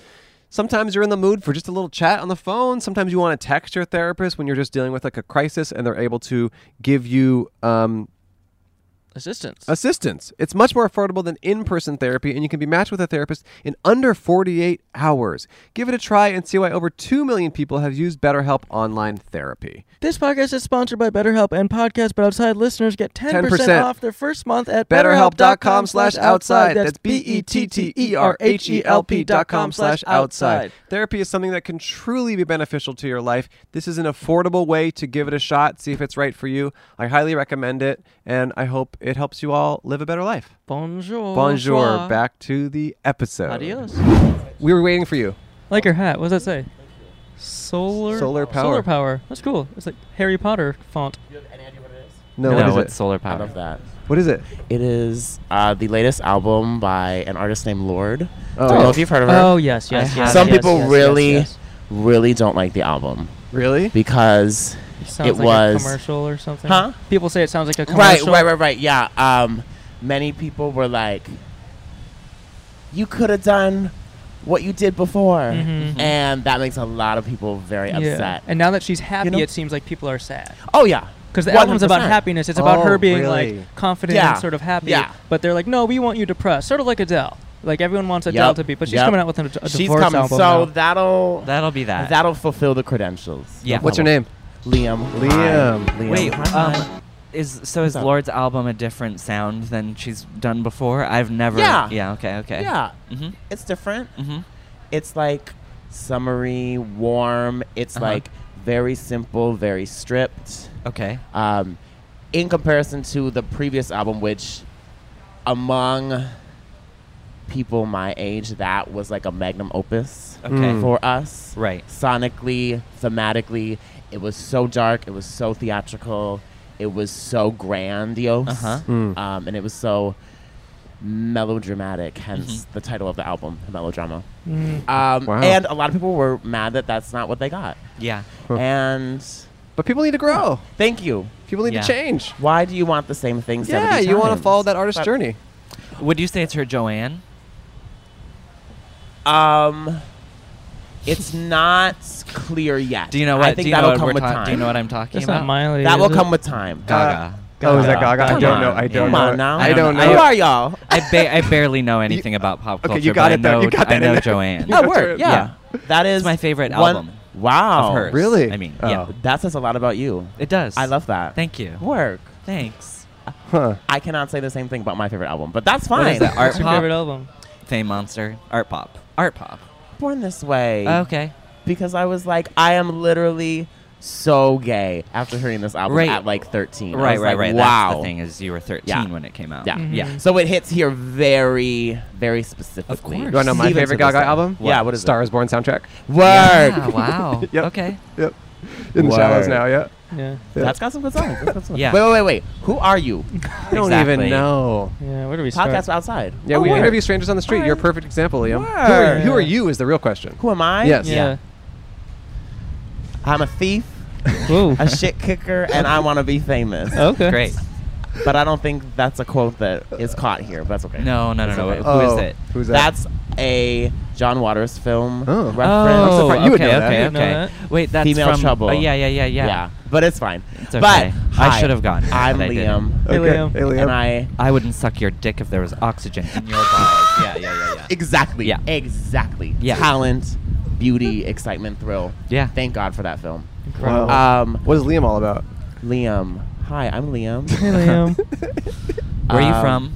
Sometimes you're in the mood for just a little chat on the phone. Sometimes you want to text your therapist when you're just dealing with like a crisis and they're able to give you um,
Assistance.
Assistance. It's much more affordable than in person therapy, and you can be matched with a therapist in under 48 hours. Give it a try and see why over 2 million people have used BetterHelp online therapy.
This podcast is sponsored by BetterHelp and Podcast But Outside listeners get 10%,
10%
off their first month at
BetterHelp.com slash outside. That's B E T T E R H E L P dot com
B-E-T-T-E-R-H-E-L-P.com
slash
E
outside. Therapy is something that can truly be beneficial to your life. This is an affordable way to give it a shot, see if it's right for you. I highly recommend it, and I hope it helps you all live a better life.
Bonjour.
Bonjour. Back to the episode.
Adios.
We were waiting for you.
Like her hat. What does that say? Solar.
Solar power.
Solar power. That's cool. It's like Harry Potter font.
Do you have any idea what it is?
No,
no,
what is
it's
it?
solar
I
power.
love that.
What is it?
It is uh, the latest album by an artist named Lord.
Oh.
Don't know if you've heard of her.
Oh yes, yes,
I
yes.
have
Some
yes,
people really, really don't like the album
Really?
because
Sounds
it
like
was-
a commercial or something.
Huh?
People say it sounds like a
right,
commercial.
right, right, right. Yeah. Um, many people were like, "You could have done what you did before,"
Mm-hmm.
Mm-hmm.
Mhm.
and that makes a lot of people very upset.
And now that she's happy,
know?
it seems like people are sad.
oh yeah,
Because the album's about
100%.
happiness. It's about
Oh,
her being
really?
like confident
Yeah.
and sort of happy.
Yeah.
But they're like, no, we want you depressed. Sort of like Adele. Like everyone wants Adele
Yep.
to be, but she's
Yep.
coming out with a, a
She's
divorce
coming,
album.
so
now.
that'll
That'll be that.
that'll fulfill the credentials.
Yeah.
What's your name?
Liam. Hi.
Liam.
Liam.
Wait,
Hi.
um, is so
What's
is
up?
Lord's album a different sound than she's done before? I've never.
Yeah.
Yeah. Okay. Okay.
yeah,
Mm-hmm.
Mhm.
it's different.
Mhm.
It's like summery, warm. It's
Uh-huh.
like very simple, very stripped.
Okay.
um, in comparison to the previous album, which among people my age, that was like a magnum opus
Okay.
Mm.
for us.
Right.
Sonically, thematically, it was so dark, it was so theatrical, it was so grandiose,
Uh-huh.
Mm.
um, and it was so melodramatic, hence the title of the album, Melodrama.
Mm,
Um,
Wow.
And a lot of people were mad that that's not what they got.
Yeah.
Huh.
And
But people need to grow.
thank you.
People need
Yeah.
to change.
Why do you want the same thing?
Yeah,
70
you want to
times?
follow that artist's
But-
journey.
Would you say it's her Joanne?
Um, it's not clear yet.
Do you know
I
what?
think
do you
that'll
know what
come
we're
with
ta-
time. Uh,
Do you know what I'm talking
That's
about?
not Miley.
that will
is it?
come with time.
Gaga.
Oh, is that Gaga? I
Come
don't
on.
know. I don't
Come
know.
on now.
I don't
I
Who
don't-
know.
are y'all?
I, ba- I barely know anything about pop
okay,
culture.
you got
but
it though.
I know,
You got that
I
in
know
there.
Joanne.
You-
Oh, word. Yeah. That is
It's my favorite
one-
album
Wow.
of hers.
really?
I mean,
Oh.
yeah.
That says a lot about you.
It does.
I love that.
Thank you.
Work.
Thanks.
Huh.
I cannot say the same thing about my favorite album, but that's fine.
What is that? Art
What's your favorite
pop.
album?
Fame monster. Art pop. Art pop.
Born this way.
Okay.
Because I was like, I am literally so gay after hearing this album
Right.
at like 13. I
Right,
was
right,
like,
right.
Wow.
That's the thing Mm-hmm. is you were 13
Yeah.
when it came out.
Yeah.
Mhm.
Yeah.
So it hits here very, very specifically.
course.
You want to know my
Even
favorite
to this
Gaga
day.
album?
Yeah, what is
Star is Born soundtrack.
it? Work.
Ah, wow.
Yep.
Okay.
Yep. In the shallows
Word.
now, yeah.
Yeah.
That's got some good songs. That's got some-
Yeah.
Wait, wait, wait, wait. Who are you?
I don't even
Exactly.
know.
Yeah. Where do we start?
Podcast outside.
Yeah,
Oh,
we
word.
interview strangers on the street. You're a perfect example, Liam. Who are,
Word.
who are you is the real question.
Who am I?
Yes.
Yeah.
I'm a thief,
Whoa.
a shit kicker, and I want to be famous.
Okay.
Great.
But I don't think that's a quote that is caught here. But that's okay.
No, no, no,
That's
no.
okay.
Who is
Oh,
it?
Who's that?
That's a John Waters film
Oh.
reference.
Oh,
surprised you would
okay,
know that.
okay,
I didn't know
okay.
that.
Wait, that's
Female
from,
Trouble.
Oh, yeah, yeah, yeah, yeah.
But it's fine.
It's okay.
But
I
hi,
should have gone,
I'm
but I didn't.
Liam,
Hey, Liam.
Hey, Liam.
and I
I wouldn't suck your dick if there was oxygen in your balls. Yeah, yeah, yeah, yeah.
Exactly.
Yeah.
Exactly.
Yeah.
Talent, beauty, excitement, thrill.
Yeah.
Thank God for that film.
Wow.
Um,
what is Liam all about?
Liam. Hi, I'm Liam.
Hey, Liam.
Where are you
Um,
from?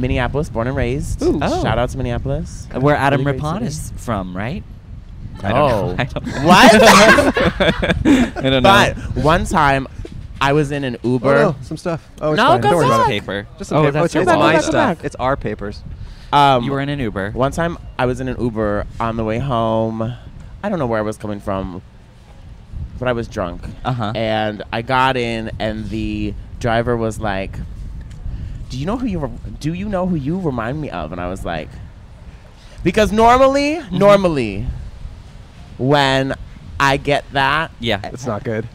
Minneapolis, born and raised.
Ooh.
Oh.
Shout out to Minneapolis.
Where Adam
Really great
Rippon
city.
is from, right? Oh.
No.
I don't know. I
What?
don't know. I don't know.
but one time, I was in an Uber.
Oh, no, some stuff. Oh, it's
No,
fine.
go
Don't worry
back.
about it.
paper.
Just some
oh,
paper.
that's
it's,
your
it's
back,
wallet.
my
back,
stuff.
back.
It's our papers.
Um,
You were in an Uber.
One time I was in an Uber on the way home. I don't know where I was coming from, but I was drunk.
Uh-huh.
And I got in, and the driver was like, "Do you know who you re- do you know who you remind me of?" And I was like, "Because normally,
Mm-hmm.
normally, when I get that,
Yeah.
It's not good.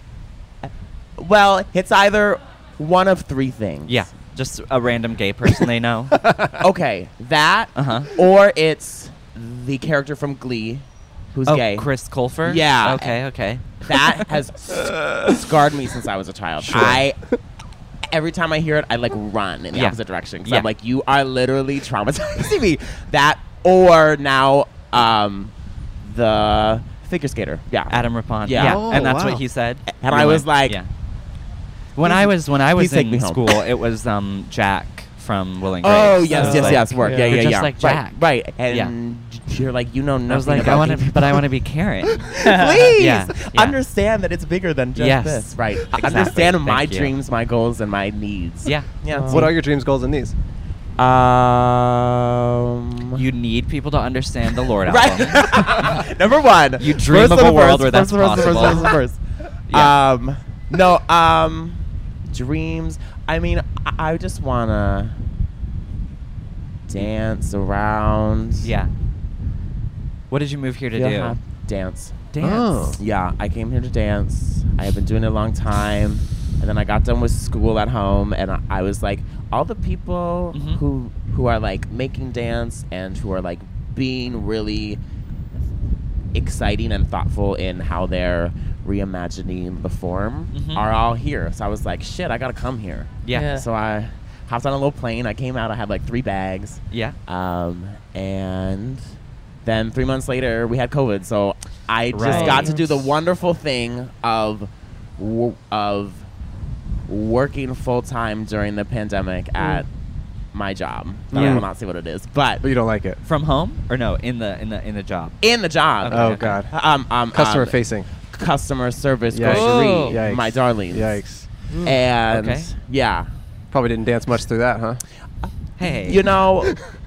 well, it's either one of three things.
Yeah. Just a random gay person they know.
Okay, that,
Uh-huh.
or it's the character from Glee, who's
oh,
gay.
Chris Colfer?
Yeah.
Okay, okay.
that has s- scarred me since I was a child.
Sure.
I every time I hear it, I like run in the
Yeah.
opposite direction because
Yeah.
I'm like, you are literally traumatizing me. That or now um, the figure skater. Yeah,
Adam Rippon.
Yeah.
Yeah,
Oh,
and that's
wow.
what he said.
And
We
I was
went-
like,
yeah. when I was when I was
please take me
in
home.
school, it was um, Jack from Will and Grace.
Oh
I
yes,
was
yes,
like-
yes. Work. Yeah,
yeah.
yeah,
You're
yeah.
just like Jack.
Right, right. And you're like, you know nothing
I was like,
about
I want
these
to, but I want to be Karen.
Please
Yeah, yeah.
understand that it's bigger than just
Yes.
this. Right.
Exactly.
Understand my
Thank you.
dreams, my goals, and my needs.
yeah,
Yeah.
Oh,
What are your dreams, goals, and needs?
Um.
you need people to understand the Lord album.
right. Number one.
You dream
First
of a
the
world where
first,
that's
first, first, first,
possible.
first, first.
Yeah.
Um. No. Um. Dreams. I mean, I, I just wanna dance around.
yeah. What did you move here to
Feel
do?
hap- Dance.
Dance.
Oh.
Yeah, I came here to dance. I have been doing it a long time. And then I got done with school at home and I, I was like, all the people
Mhm.
who who are like making dance and who are like being really exciting and thoughtful in how they're reimagining the form
Mhm.
are all here. So I was like, shit, I gotta come here.
Yeah.
So I hopped on a little plane. I came out. I had like three bags.
Yeah.
Um, and then three months later, we had COVID. So I just
Right.
got to do the wonderful thing of w- of working full time during the pandemic at my job. That I
Mm. Yeah.
will not say what it is, but
But you don't like it.
From home or no? In the in the in the job.
in the job.
Okay.
Oh God.
Um, um,
Customer
um,
facing.
customer service
Yikes.
grocery,
Yikes.
my darlings.
Yikes.
And
Okay.
yeah,
Probably didn't dance much through that, huh?
Hey.
you know,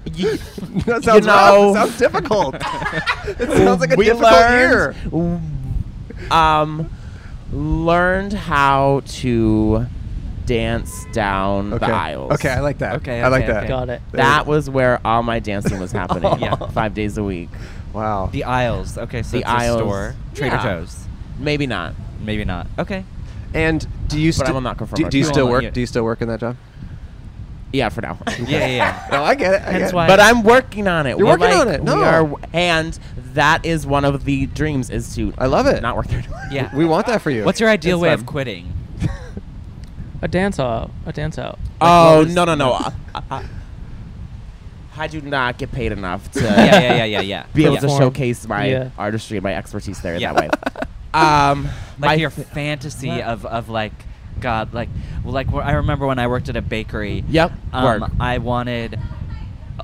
y-
that sounds rough.
know-
It sounds difficult. it sounds like a
we
difficult year.
learned, um, learned how to dance down
Okay.
the aisles.
Okay, I like that.
Okay,
I like
okay,
that.
okay.
Got it.
That was where all my dancing was happening.
Yeah.
five days a week.
Wow.
The aisles. Okay, so
The
it's
aisles.
a store. Trader
Yeah.
Joe's.
Maybe not.
Maybe not. Okay.
And do you still
I will not confirm
do,
or
do you
deny.
still
Well,
work?
yeah.
Do you still work in that job?
Yeah, for now.
Yeah, yeah, yeah.
No, I get it. I
Hence
get it.
why-
But I'm working on it.
You're
We're
working
like-
on it. No.
we are, and that is one of the dreams is to.
I love it.
Not work there. anymore.
Yeah.
we want that for you.
What's your ideal
It's
way
fun.
of quitting?
A dance out. A dance out.
Oh
what was-
no no no! I, I, I do not get paid enough to
yeah, yeah, yeah, yeah, yeah.
be able
yeah.
to
Perform.
showcase my
Yeah.
artistry, my expertise there in
Yeah.
that way. um, my
like your fantasy of, of like God, like well, like wh- I remember when I worked at a bakery.
Yep, work.
Um, I wanted,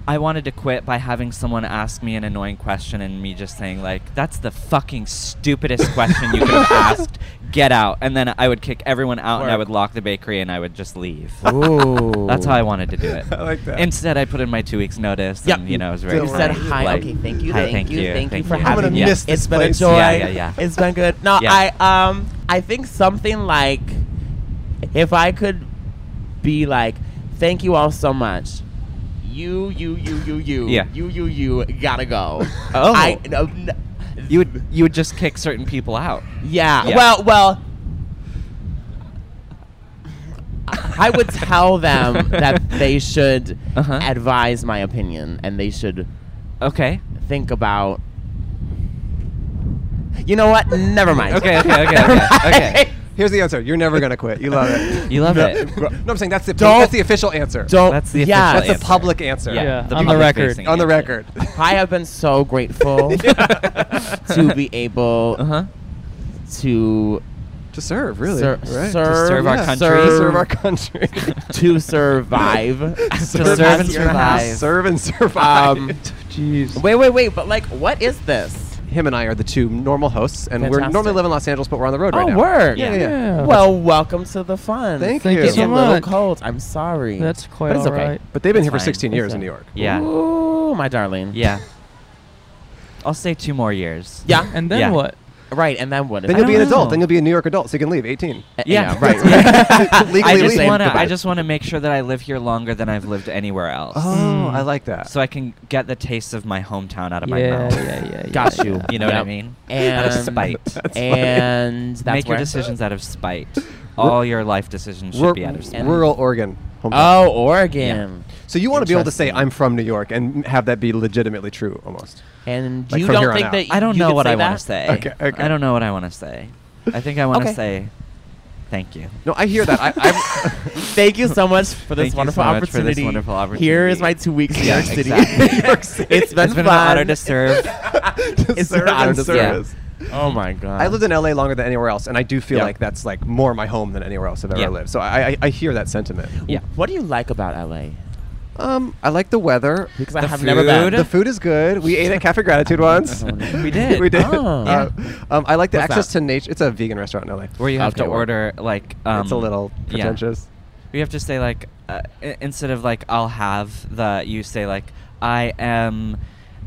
I wanted to quit by having someone ask me an annoying question and me just saying like, "That's the fucking stupidest question you could have asked. Get out!" And then I would kick everyone out and I
Work.
would lock the bakery and I would just leave.
Ooh,
That's how I wanted to do it.
I like that.
Instead, I put in my two weeks notice.
Yep.
And, you know, it was very.
You said
polite,
hi.
like,
okay, thank you,
"Hi,
thank, you, thank you for
I'm
having
gonna
me.
Yeah.
miss this
it's been a
place.
joy.
Yeah, yeah, yeah.
It's been good. No,
Yeah.
I um, I think something like if I could be like, thank you all so much. You, you, you, you, you,
Yeah.
you, you, you, gotta go.
Oh.
I, no, n-
You would you would just kick certain people out.
Yeah.
Yeah.
Well, well. I would tell them that they should
Uh-huh.
advise my opinion and they should
Okay.
think about. You know what? Never mind.
Okay, okay, okay,
Never
okay, okay.
mind.
Here's the answer. You're never gonna quit. You love it.
You love
no,
it.
No, I'm saying that's the
Don't-
that's the official answer.
Don't.
That's the
yeah,
official
that's
the
answer.
public answer.
Yeah,
Yeah,
the
on the
public
record.
facing
On the
answer.
record.
a- I have been so grateful to be able
Uh-huh.
to
To serve, really.
Ser-
right?
serve-
serve our country.
To
serve-
serve our country.
to survive.
serve
as
and
your
survive.
house.
serve and survive.
Um,
Jeez.
Wait, wait, wait! But like, what is this?
Him and I are the two normal hosts, and we're
Fantastic.
normally live in Los Angeles, but we're on the road right
oh,
now.
word!
Yeah, yeah. yeah.
Well, welcome to the fun.
Thank,
Thank
you.
you
It's
so
a little
much.
cold. I'm sorry.
That's quite
But it's
all
okay.
right.
But they've been
It's
here for
fine.
16 years
It's
in
fine.
New York.
Yeah.
Ooh, my darling.
Yeah. I'll say two more years.
Yeah.
And then
Yeah.
what?
right. And then what?
Then
I
you'll
don't
be an
know.
adult. Then you'll be a New York adult, so you can leave 18.
Uh,
Yeah.
Yeah. Right. right.
I
Legally
just
leave.
want to. I
Goodbye.
just want to make sure that I live here longer than I've lived anywhere else,
Oh, I like that.
so I can get the taste of my hometown out of
Yeah,
my mouth.
yeah, yeah, yeah.
Got you.
You know what I
Yep.
mean?
And
out of spite.
and that's
Make your
where-
decisions out of spite. All your life decisions should
Rur-
be out of spite.
and-
rural Oregon. hometown.
Oh, Oregon.
so you want to be able to say
Interesting.
I'm from New York and have that be legitimately true, almost.
And
Like
you
from here
don't
on
think
out.
that
I don't
you
know
could
what
say
I want
that?
to say.
Okay, okay.
I don't know what I want to say. I think I want to
Okay.
say Thank you.
No, I hear that. I, I thank you so much for
Thank
this
you
wonderful
so much for this
opportunity.
wonderful
Here is
opportunity.
my two weeks in
Yeah,
New York City.
exactly.
New York City. It's been
it's been
fun.
an honor to serve.
it's been an
serve
honor
and
to
service.
serve. Oh my god!
I lived in LA longer than anywhere else, and I do feel
Yeah.
like that's like more my home than anywhere else I've ever
Yeah.
lived. So I, I, I hear that sentiment.
yeah.
What do you like about LA?
Um, I like the weather.
Because I
The
have never been.
food.
The food is good. We ate at Cafe Gratitude once.
We did.
we did.
Oh.
Uh, um, I like the
What's
access
that?
to nature. It's a vegan restaurant in LA.
Where you have
Okay,
to
well,
order like um,
it's a little
yeah.
pretentious.
We have to say like uh, i- instead of like I'll have the you say like I am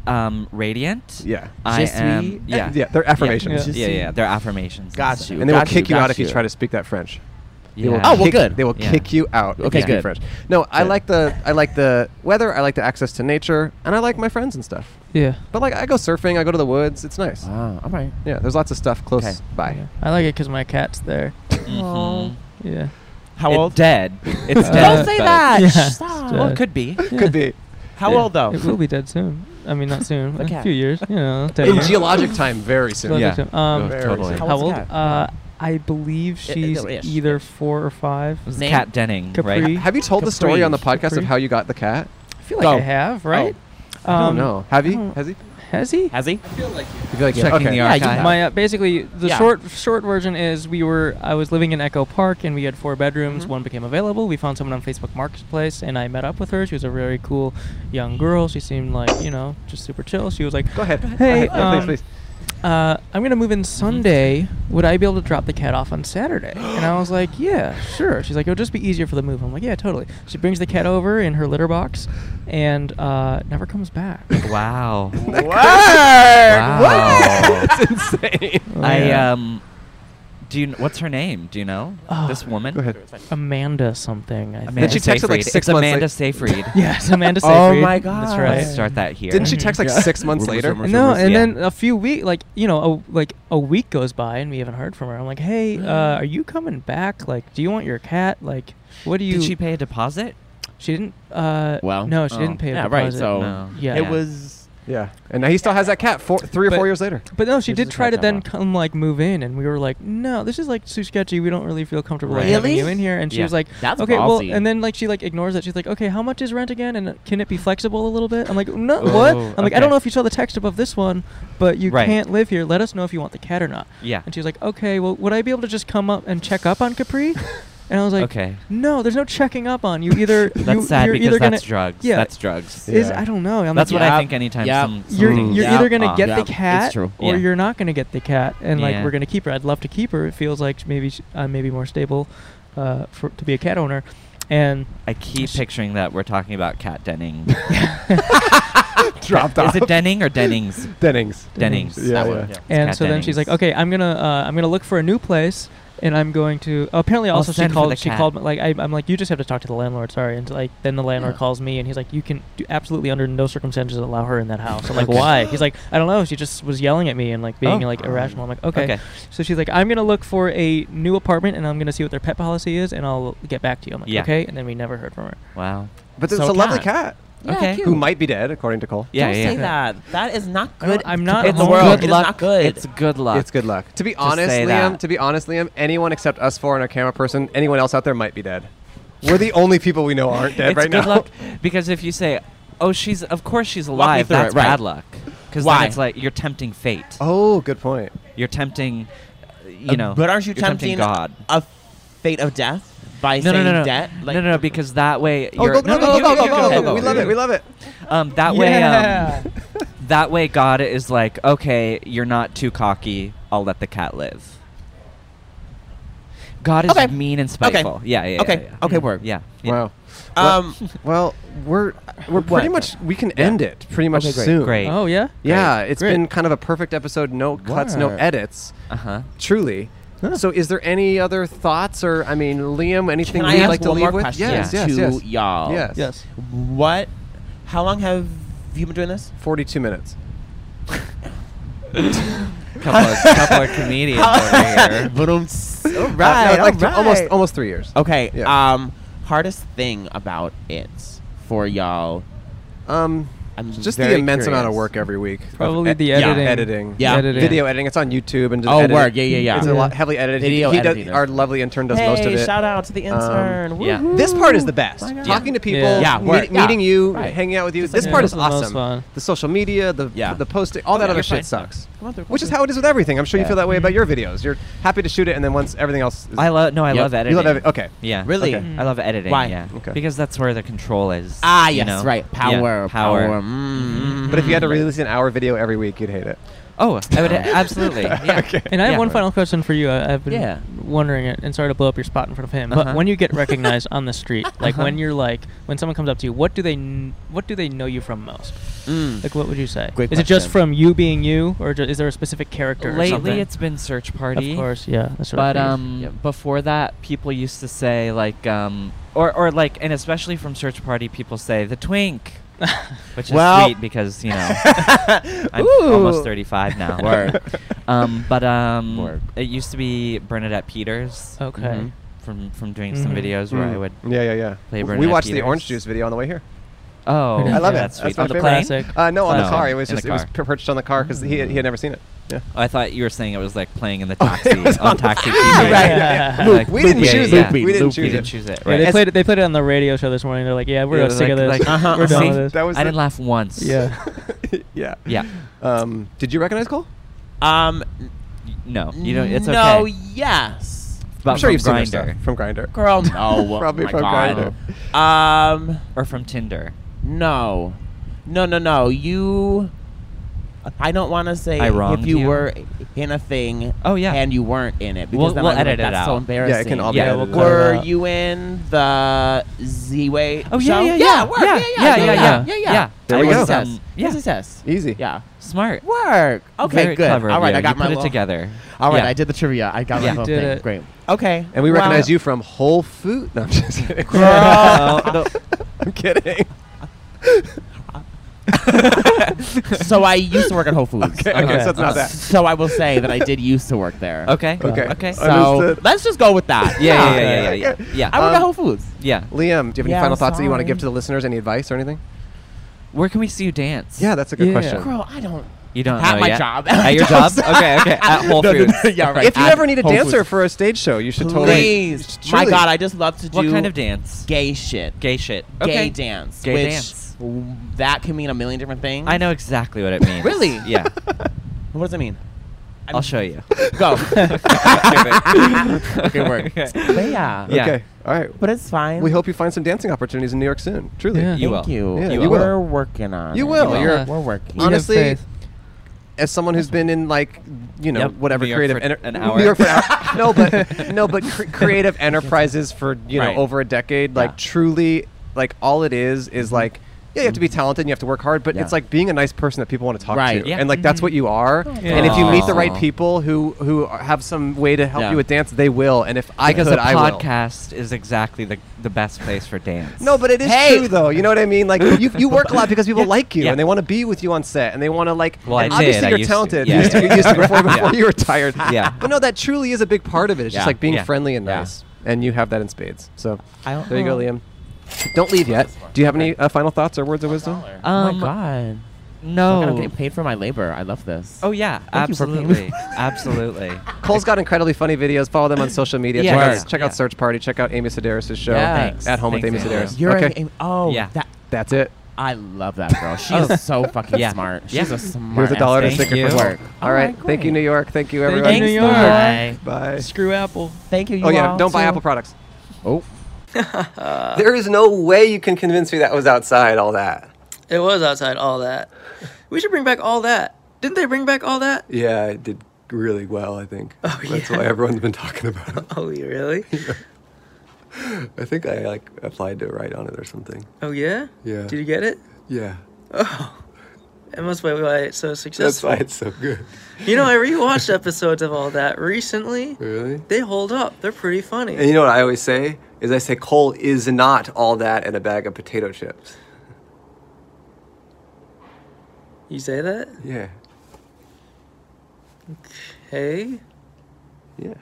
um, radiant.
Yeah. E-,
I
Je suis-
am. Yeah.
Yeah, they're affirmations.
Yeah,
Je
yeah,
suis-
yeah, they're affirmations.
Got
instead.
you.
And they will
Got
kick you, out
got
if you try to speak that French. They
Yeah.
will
Oh, well,
kick-
good.
They will
Yeah.
kick you out. if
Okay,
you speak
good.
French. No, I
Good.
like the I like the weather. I like the access to nature, and I like my friends and stuff.
Yeah.
But like, I go surfing. I go to the woods. It's nice.
Wow. All right.
Yeah, there's lots of stuff close
Okay.
by.
I like it because my cat's there.
Mhm.
Yeah.
How
It-
old?
Dead. It's
Uh,
dead.
Don't
say
but-
that. Ah,
yeah.
sh-
it's
stop.
Well, it
dead.
could be.
Yeah.
Could be
How
Yeah.
old though?
It will be dead soon. I mean, not soon.
The
in a
cat.
few years. You know. 10
in
years.
geologic time very soon.
Geologic
Yeah.
time. Um,
Very
totally.
soon.
How
How
old's
old?
the cat?
Uh, I believe
I- I
she's
don't- yes.
either four or five.
It was
Name?
Cat Denning,
Capri.
right?
Have you told the story
Capri.
on the podcast of
Capri.
how you got the cat?
I feel like
Go.
I have, right?
Oh.
Oh.
I don't
Um,
know. Have you?
don't-
Has he?
Has he?
Has he?
I feel like
Checking the
Yeah, you
archive.
have.
My uh, basically the
Yeah.
short short version is we were I was living in Echo Park and we had four bedrooms. One became available. We found someone on Facebook Marketplace and I met up with her. She was a very cool young girl. She seemed like you know just super chill. She was like,
Go ahead.
Hey,
Go ahead.
um,
please, please.
uh, I'm gonna move in Sunday. Would I be able to drop the cat off on Saturday? And I was like, Yeah, sure. She's like, It'll just be easier for the move. I'm like, Yeah, totally. She brings the cat over in her litter box, and uh, never comes back.
Wow.
Word.
Wow.
That's insane.
I
Oh, Yeah.
uh,
um. Do you? kn- What's her name? Do you know
Oh.
this woman?
Go ahead.
Amanda something. I think.
Amanda
she texted, like,
Seyfried.
six
It's
months
Amanda
late.
Seyfried.
Yes, Amanda
Oh
Seyfried.
my
That's
God.
right.
Let's start that here.
Didn't she text like six months later?
rumors,
No, and
yeah.
then a few weeks, like you know, a, like a week goes by and we haven't heard from her. I'm like, hey, uh, are you coming back? Like, do you want your cat? Like, what do you?
Did she pay a deposit?
She didn't. Uh,
Well,
no, she
oh.
didn't pay. A
Yeah, right,
deposit.
so- Oh,
yeah.
It was.
Yeah, and now he still has that cat four, three or
But-
four years later.
But no, she
This
did
is
try to
like
then
Emma.
come like move in, and we were like, no, this is like too sketchy. We don't really feel comfortable like,
Really?
having you in here. And she
Yeah.
was like,
That's
okay, well,
ballsy.
and then like she like ignores it. She's like, okay, how much is rent again? And uh, can it be flexible a little bit? I'm like, no, what?
Oh,
I'm like, I don't
okay.
know if you saw the text above this one, but you
Right.
can't live here. Let us know if you want the cat or not.
Yeah.
And she was like, okay, well, would I be able to just come up and check up on Capri? And I was like,
Okay.
no, there's no checking up on you either.
That's
you,
sad
you're
because
either
that's
gonna,
drugs.
Yeah.
That's drugs.
Is
Yeah.
I don't know. I'm
That's
like,
what
Yep,
I think anytime
yep.
some
you're
Mm.
something-
you're
Yeah.
either gonna
Ah.
get
Yeah.
the
It's
cat
true.
or
Yeah.
you're not gonna get the cat, and like
Yeah.
we're gonna keep her. I'd love to keep her. It feels like sh- maybe sh- I'm maybe more stable uh, for to be a cat owner, and
I keep picturing that we're talking about Cat Denning.
Dropped off.
Is it Denning or Dennings?
Dennings.
Dennings.
Yeah,
that
yeah.
one. It's
and
Kat
so then she's like,
Dennings.
okay, I'm gonna uh, I'm gonna look for a new place. And I'm going to. Apparently,
I'll
also she
send for the
called. She
cat.
called. me- Like I, I'm like, you just have to talk to the landlord. Sorry. And like, then the landlord
Yeah.
calls me, and he's like, you can do absolutely under no circumstances allow her in that house. I'm like,
Okay.
why? He's like, I don't know. She just was yelling at me and like being
Oh.
like irrational. I'm like,
Okay.
So she's like, I'm gonna look for a new apartment, and I'm gonna see what their pet policy is, and I'll get back to you. I'm like,
Yeah.
okay. And then we never heard from her.
Wow.
But it's a
So
lovely
cat.
cat
Yeah,
Okay.
cute.
who might be dead, according to Cole.
Yeah,
Don't
yeah.
say that. That is not
I don't-
good.
I'm not
It's
home.
world.
Good
It is
luck.
not good.
It's good luck.
It's good luck. To be honest,
say
Liam.
that.
To be honest, Liam. Anyone except us four and our camera person, anyone else out there might be dead. We're the only people we know aren't dead
it's
right
good
now.
luck because if you say, "Oh, she's of course she's
me
alive,"
through it,
that's
right.
bad luck. Because
Why?
then it's like you're tempting fate.
Oh, good point.
You're tempting, uh, you know.
But aren't you
you're tempting,
tempting
God?
a fate of death by
No,
saying
no, no, no.
debt?
no, no, no, because that way
Oh,
you're
go, no,
no,
no,
you-
go,
you-
go,
you-
go, go,
you-
go. We love it. We love it.
Um, that way, um, that way, God is like, okay, you're not too cocky. I'll let the cat live. God is
Okay.
mean and spiteful. Yeah, yeah, yeah,
Okay.
yeah.
Okay, word.
Yeah. yeah.
Wow.
Um,
Well, we're we're
What?
pretty much we can end it pretty much
Okay, great,
soon.
Great.
Oh yeah.
Yeah, it's
Great.
been kind of a perfect episode. No cuts, no
Word.
edits.
Uh huh.
Truly. So, is there any other thoughts, or I mean, Liam, anything
can I
you'd
ask
like to
one
leave
more
with?
question
Yes, yes,
to
yes.
y'all?
Yes.
Yes.
What? How long have you been doing this?
Forty-two minutes.
Couple of, couple of comedians over here.
But um, s- all
Uh, no,
right,
like
all
th- almost
right. Oh,
almost three years.
Okay.
Yeah.
Um, hardest thing about it for y'all.
Um,
I'm
Just the
very
immense amount of
curious.
work every week. of
Probably
e-
the
yeah,
editing.
editing.
Yeah.
Editing.
Video editing. It's on YouTube and just
Oh,
edited.
word. Yeah, yeah, yeah.
It's a
Yeah.
lot heavily edited. He-
Video
he,
editing
Does,
is-
our lovely intern does
hey,
most of it. Um,
shout out to the intern.
yeah.
Woohoo.
This part is the best.
uh,
Talking to people,
Yeah.
Yeah,
meet-
work.
meeting
Yeah.
you,
Right.
hanging out with you.
It's
this
like-
part
Yeah.
is
This is the most
awesome.
fun.
The social media, the
Yeah.
the posting,
Oh,
all that other
you're
shit
fine.
sucks.
Come on through, come
Which is
through.
how it is with everything. I'm sure you
Yeah.
feel that way about your videos. You're happy to shoot it, and then once everything else is
I love. No, I
Yep.
love
You
editing.
you love every, okay.
Yeah.
Really?
Okay. I love editing.
Why?
Yeah.
Okay.
Because that's where the control is.
Ah,
you
yes,
know?
right.
Yeah,
Power,
Power.
Mm.
But if you had to
Mm-hmm.
release an hour video every week, you'd hate it.
Oh, I would absolutely. Yeah.
And I have
Yeah.
one final question for you. I, I've been
Yeah.
wondering it, and sorry to blow up your spot in front of him. But
Uh-huh.
when you get recognized on the street, like
Uh-huh.
when you're like, when someone comes up to you, what do they, kn- what do they know you from most?
Mm.
Like, what would you say?
Great
is it just
question.
from you being you, or ju- is there a specific character? or something?
Lately, it's been search party.
Of course, yeah. That's what I
But
figured.
um, before that, people used to say like um, or or like, and especially from search party, people say the twink, which is
Well-
sweet because you know I'm almost 35 now.
Word.
Um, but um,
Word.
it used to be Bernadette Peters.
Okay.
mhm, From from doing some
Mhm.
videos where I would.
Mm-hmm. Mm. Yeah, yeah, yeah.
play
W- we
Bernadette
watched the
Peters.
orange juice video on the way here.
Oh,
I
I love
Yeah,
it.
That's sweet.
my
On the
plane?
favorite.
classic.
Uh, no, on the
Oh.
car. It was
In the
just it was
car.
per- perched on the car because he had, he had never seen it. Yeah.
I thought you were saying it was like playing in the
Oh, it
taxi
was
on
on the-
taxi.
Ah,
TV.
right, yeah, yeah.
Like,
Loop, we didn't
yeah,
choose
yeah,
it.
yeah.
We didn't
Loop,
choose
we didn't
it.
choose it.
Yeah, they
Right.
played it. They played it on the radio show this morning. They're like, "Yeah, we're
Yeah,
sick
like-
of this.
like, uh-huh,
we're done
see?
with this."
That was
I
the-
didn't laugh once.
Yeah.
yeah.
Yeah.
Um, did you recognize Cole?
Um,
No, you know it's
no,
okay.
yes.
But
I'm sure
from
you've seen her
Grindr.
stuff from Grinder.
Girl, no. Oh
Probably
My
from
God. Um,
or from Tinder.
no. No, no, no. You. I don't want to say
I
if
wronged
you,
you?
were in a thing
Oh, yeah.
and you weren't in it. Because
We'll-
then
we'll
I'm like,
edit it
That's so
out.
embarrassing.
Yeah, it can all be
Yeah,
edited
we'll
out.
cut it
Were
out.
you in the Z Way?
Oh,
show?
yeah, yeah, yeah.
work,
Yeah,
yeah, yeah, yeah, yeah, yeah,
yeah, yeah.
There we
Yes,
go.
it says.
Um,
Yes,
yeah.
it says.
Easy.
Yeah.
Smart.
Work. Okay,
Very
good.
Clever of
all right,
you.
I got
You
my
put it
little-
together.
All right,
Yeah.
I did the trivia. I got
Yeah.
my whole
Did
thing.
it.
Great. Okay.
And we
Well-
recognize you from Whole Food. No, I'm just kidding.
Girl.
I'm kidding.
so I used to work at Whole Foods.
Okay, okay,
Okay.
so it's not that.
So I will say that I did used to work there.
Okay.
Okay.
Okay.
So
Understood.
let's just go with that.
Yeah, yeah, yeah, yeah, yeah,
Okay.
yeah. yeah.
I work
Um,
at Whole Foods.
yeah.
Liam, do you have any
Yeah,
final
I'm
thoughts that you want to
sorry.
give to the listeners? Any advice or anything?
Where can we see you dance?
Yeah, that's a good
Yeah.
question.
Girl, I don't.
You don't
At
know
my
yet?
job.
At your job? Okay. Okay. At Whole
No, no,
Foods.
no, yeah, right.
If you
At
ever need a
Whole
dancer
Foods.
for a stage show, you should totally.
Please. My
Truly.
God, I just love to do
What kind of dance?
gay shit.
Gay shit.
Gay
Okay.
dance.
Gay
which
dance.
w- That can mean a million different things.
I know exactly what it means.
Really?
Yeah.
What does it mean?
I'll show you.
Go.
okay,
Good work. But yeah.
Yeah.
Okay. All right.
But it's fine.
We hope you find some dancing opportunities in New York soon. Truly.
Yeah.
You
Thank
will.
you.
Yeah,
you.
you will.
We're working on.
You
it.
will.
Yeah.
You're
We're working.
You have
honestly,
faith.
as someone who's been in like you know
Yep,
whatever
New York
creative
for
enter-
an hour.
New York for an hour. no, but no, but cr- creative enterprises for you know
Right.
over a decade. Like
Yeah.
truly, like all it is is
Mm-hmm.
like. Yeah, you have to be talented and you have to work hard, but
Yeah.
it's like being a nice person that people want to talk
Right.
to.
Yeah.
And like that's what you are. And if you meet the right
Aw.
people who who are- have some way to help
Yeah.
you with dance, they will. And if I
Because
could,
a
I will.
podcast is exactly the the best place for dance.
No, but it is
Hey!
true though. You know what I mean? Like you, you work a lot because people like you
yeah.
and they want to be with you on set and they want to like.
Well, I
and
did,
obviously
I
you're
used to.
talented.
Yeah,
You used to,
yeah.
you used to before,
Yeah.
before you retired.
Yeah.
But no, that truly is a big part of it. It's just
Yeah.
like being
Yeah. Oh.
friendly and
Yeah.
nice, and you have that in spades. So
I don't
there you go,
know.
Liam. Don't leave yet. Do you have any uh, final thoughts or words of wisdom?
Oh
Um,
my God.
No.
I'm getting paid for my labor. I love this.
Oh yeah,
you for paying
absolutely,
me.
absolutely.
Cole's got incredibly funny videos. Follow them on social media.
Yeah.
Check,
Word.
out, check
Yeah.
out Search Party. Check out Amy Sedaris' show
Yeah. Thanks.
at home with
Thanks,
Amy
Amy.
Sedaris.
You're
okay,
a, oh
Yeah.
That,
that's it.
I love that girl. She's
Oh.
so fucking
Yeah.
smart. She's
Yeah.
a smart.
Here's a dollar to
ass
Thank
sticker
bitch.
for
you.
work. All
All
right,
right,
thank you, New
great.
York. Thank you,
Thank you,
everyone.
New
Thanks,
York.
Bye.
Bye.
Screw Apple.
Thank you. You
Oh yeah,
all.
don't buy Apple products.
Oh.
Uh,
There is no way you can convince me that was outside all that.
It was outside all that. We should bring back all that. Didn't they bring back all that?
Yeah, I did really well, I think. That's why everyone's been talking about it.
Oh, really?
I think I like applied to write on it or something.
Oh, yeah?
Yeah.
Did you get it?
Yeah.
It must be why it's so
That's
successful.
why it's so good.
You know, I rewatched episodes of all that recently.
Really?
They hold up. They're pretty funny.
And you know what I always say? Is I say Cole is not all that and a bag of potato chips.
You say that?
Yeah.
Hey?
Yeah.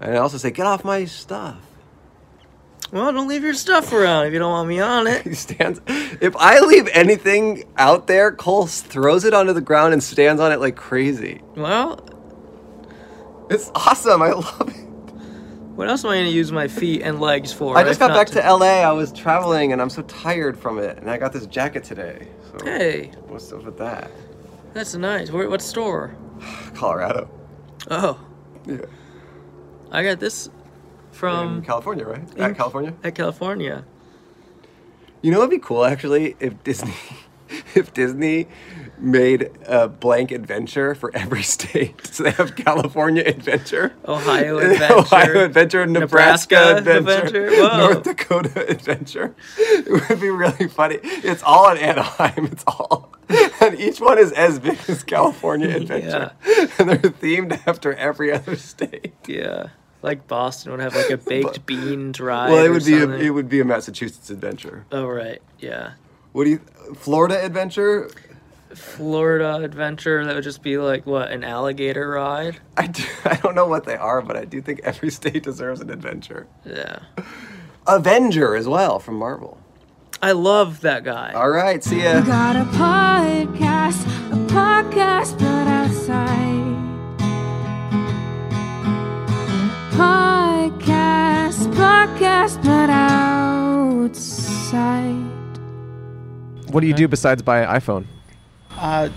And I also say, get off my stuff.
Well, don't leave your stuff around if you don't want me on
He
it.
stands. If I leave anything out there, Cole throws it onto the ground and stands on it like crazy.
Well,
It's awesome. I love it.
what else am I going to use my feet and legs for?
I just
if
got
not
back to LA. I was traveling and I'm so tired from it. And I got this jacket today. So
Hey,
what's up with that?
that's nice. Where, what store?
Colorado.
Oh,
Yeah.
I got this
in
from
California, right?
Um, in-
At California.
at California.
You know, it'd be cool actually if Disney, if Disney made a blank adventure for every state. So they have California adventure,
Oh, Ohio Adventure,
Ohio adventure, Nebraska,
Nebraska
adventure,
Adventure, whoa.
North Dakota adventure. It would be really funny. It's all in Anaheim. It's all, and each one is as big as California adventure, and they're themed after every other state.
Yeah, like Boston would have like a baked bean drive.
Well, it
or
would be a,
something.
it would be a Massachusetts adventure.
Oh right, yeah.
What do you? Florida adventure?
Florida adventure that would just be like what an alligator ride.
I, do, I don't know what they are, but I do think every state deserves an adventure.
Yeah,
Avenger as well from Marvel.
I love that guy.
All right, see ya.
Got a podcast, a podcast, but outside. Podcast, podcast, but outside.
What do you do besides buy an iPhone?
Uh,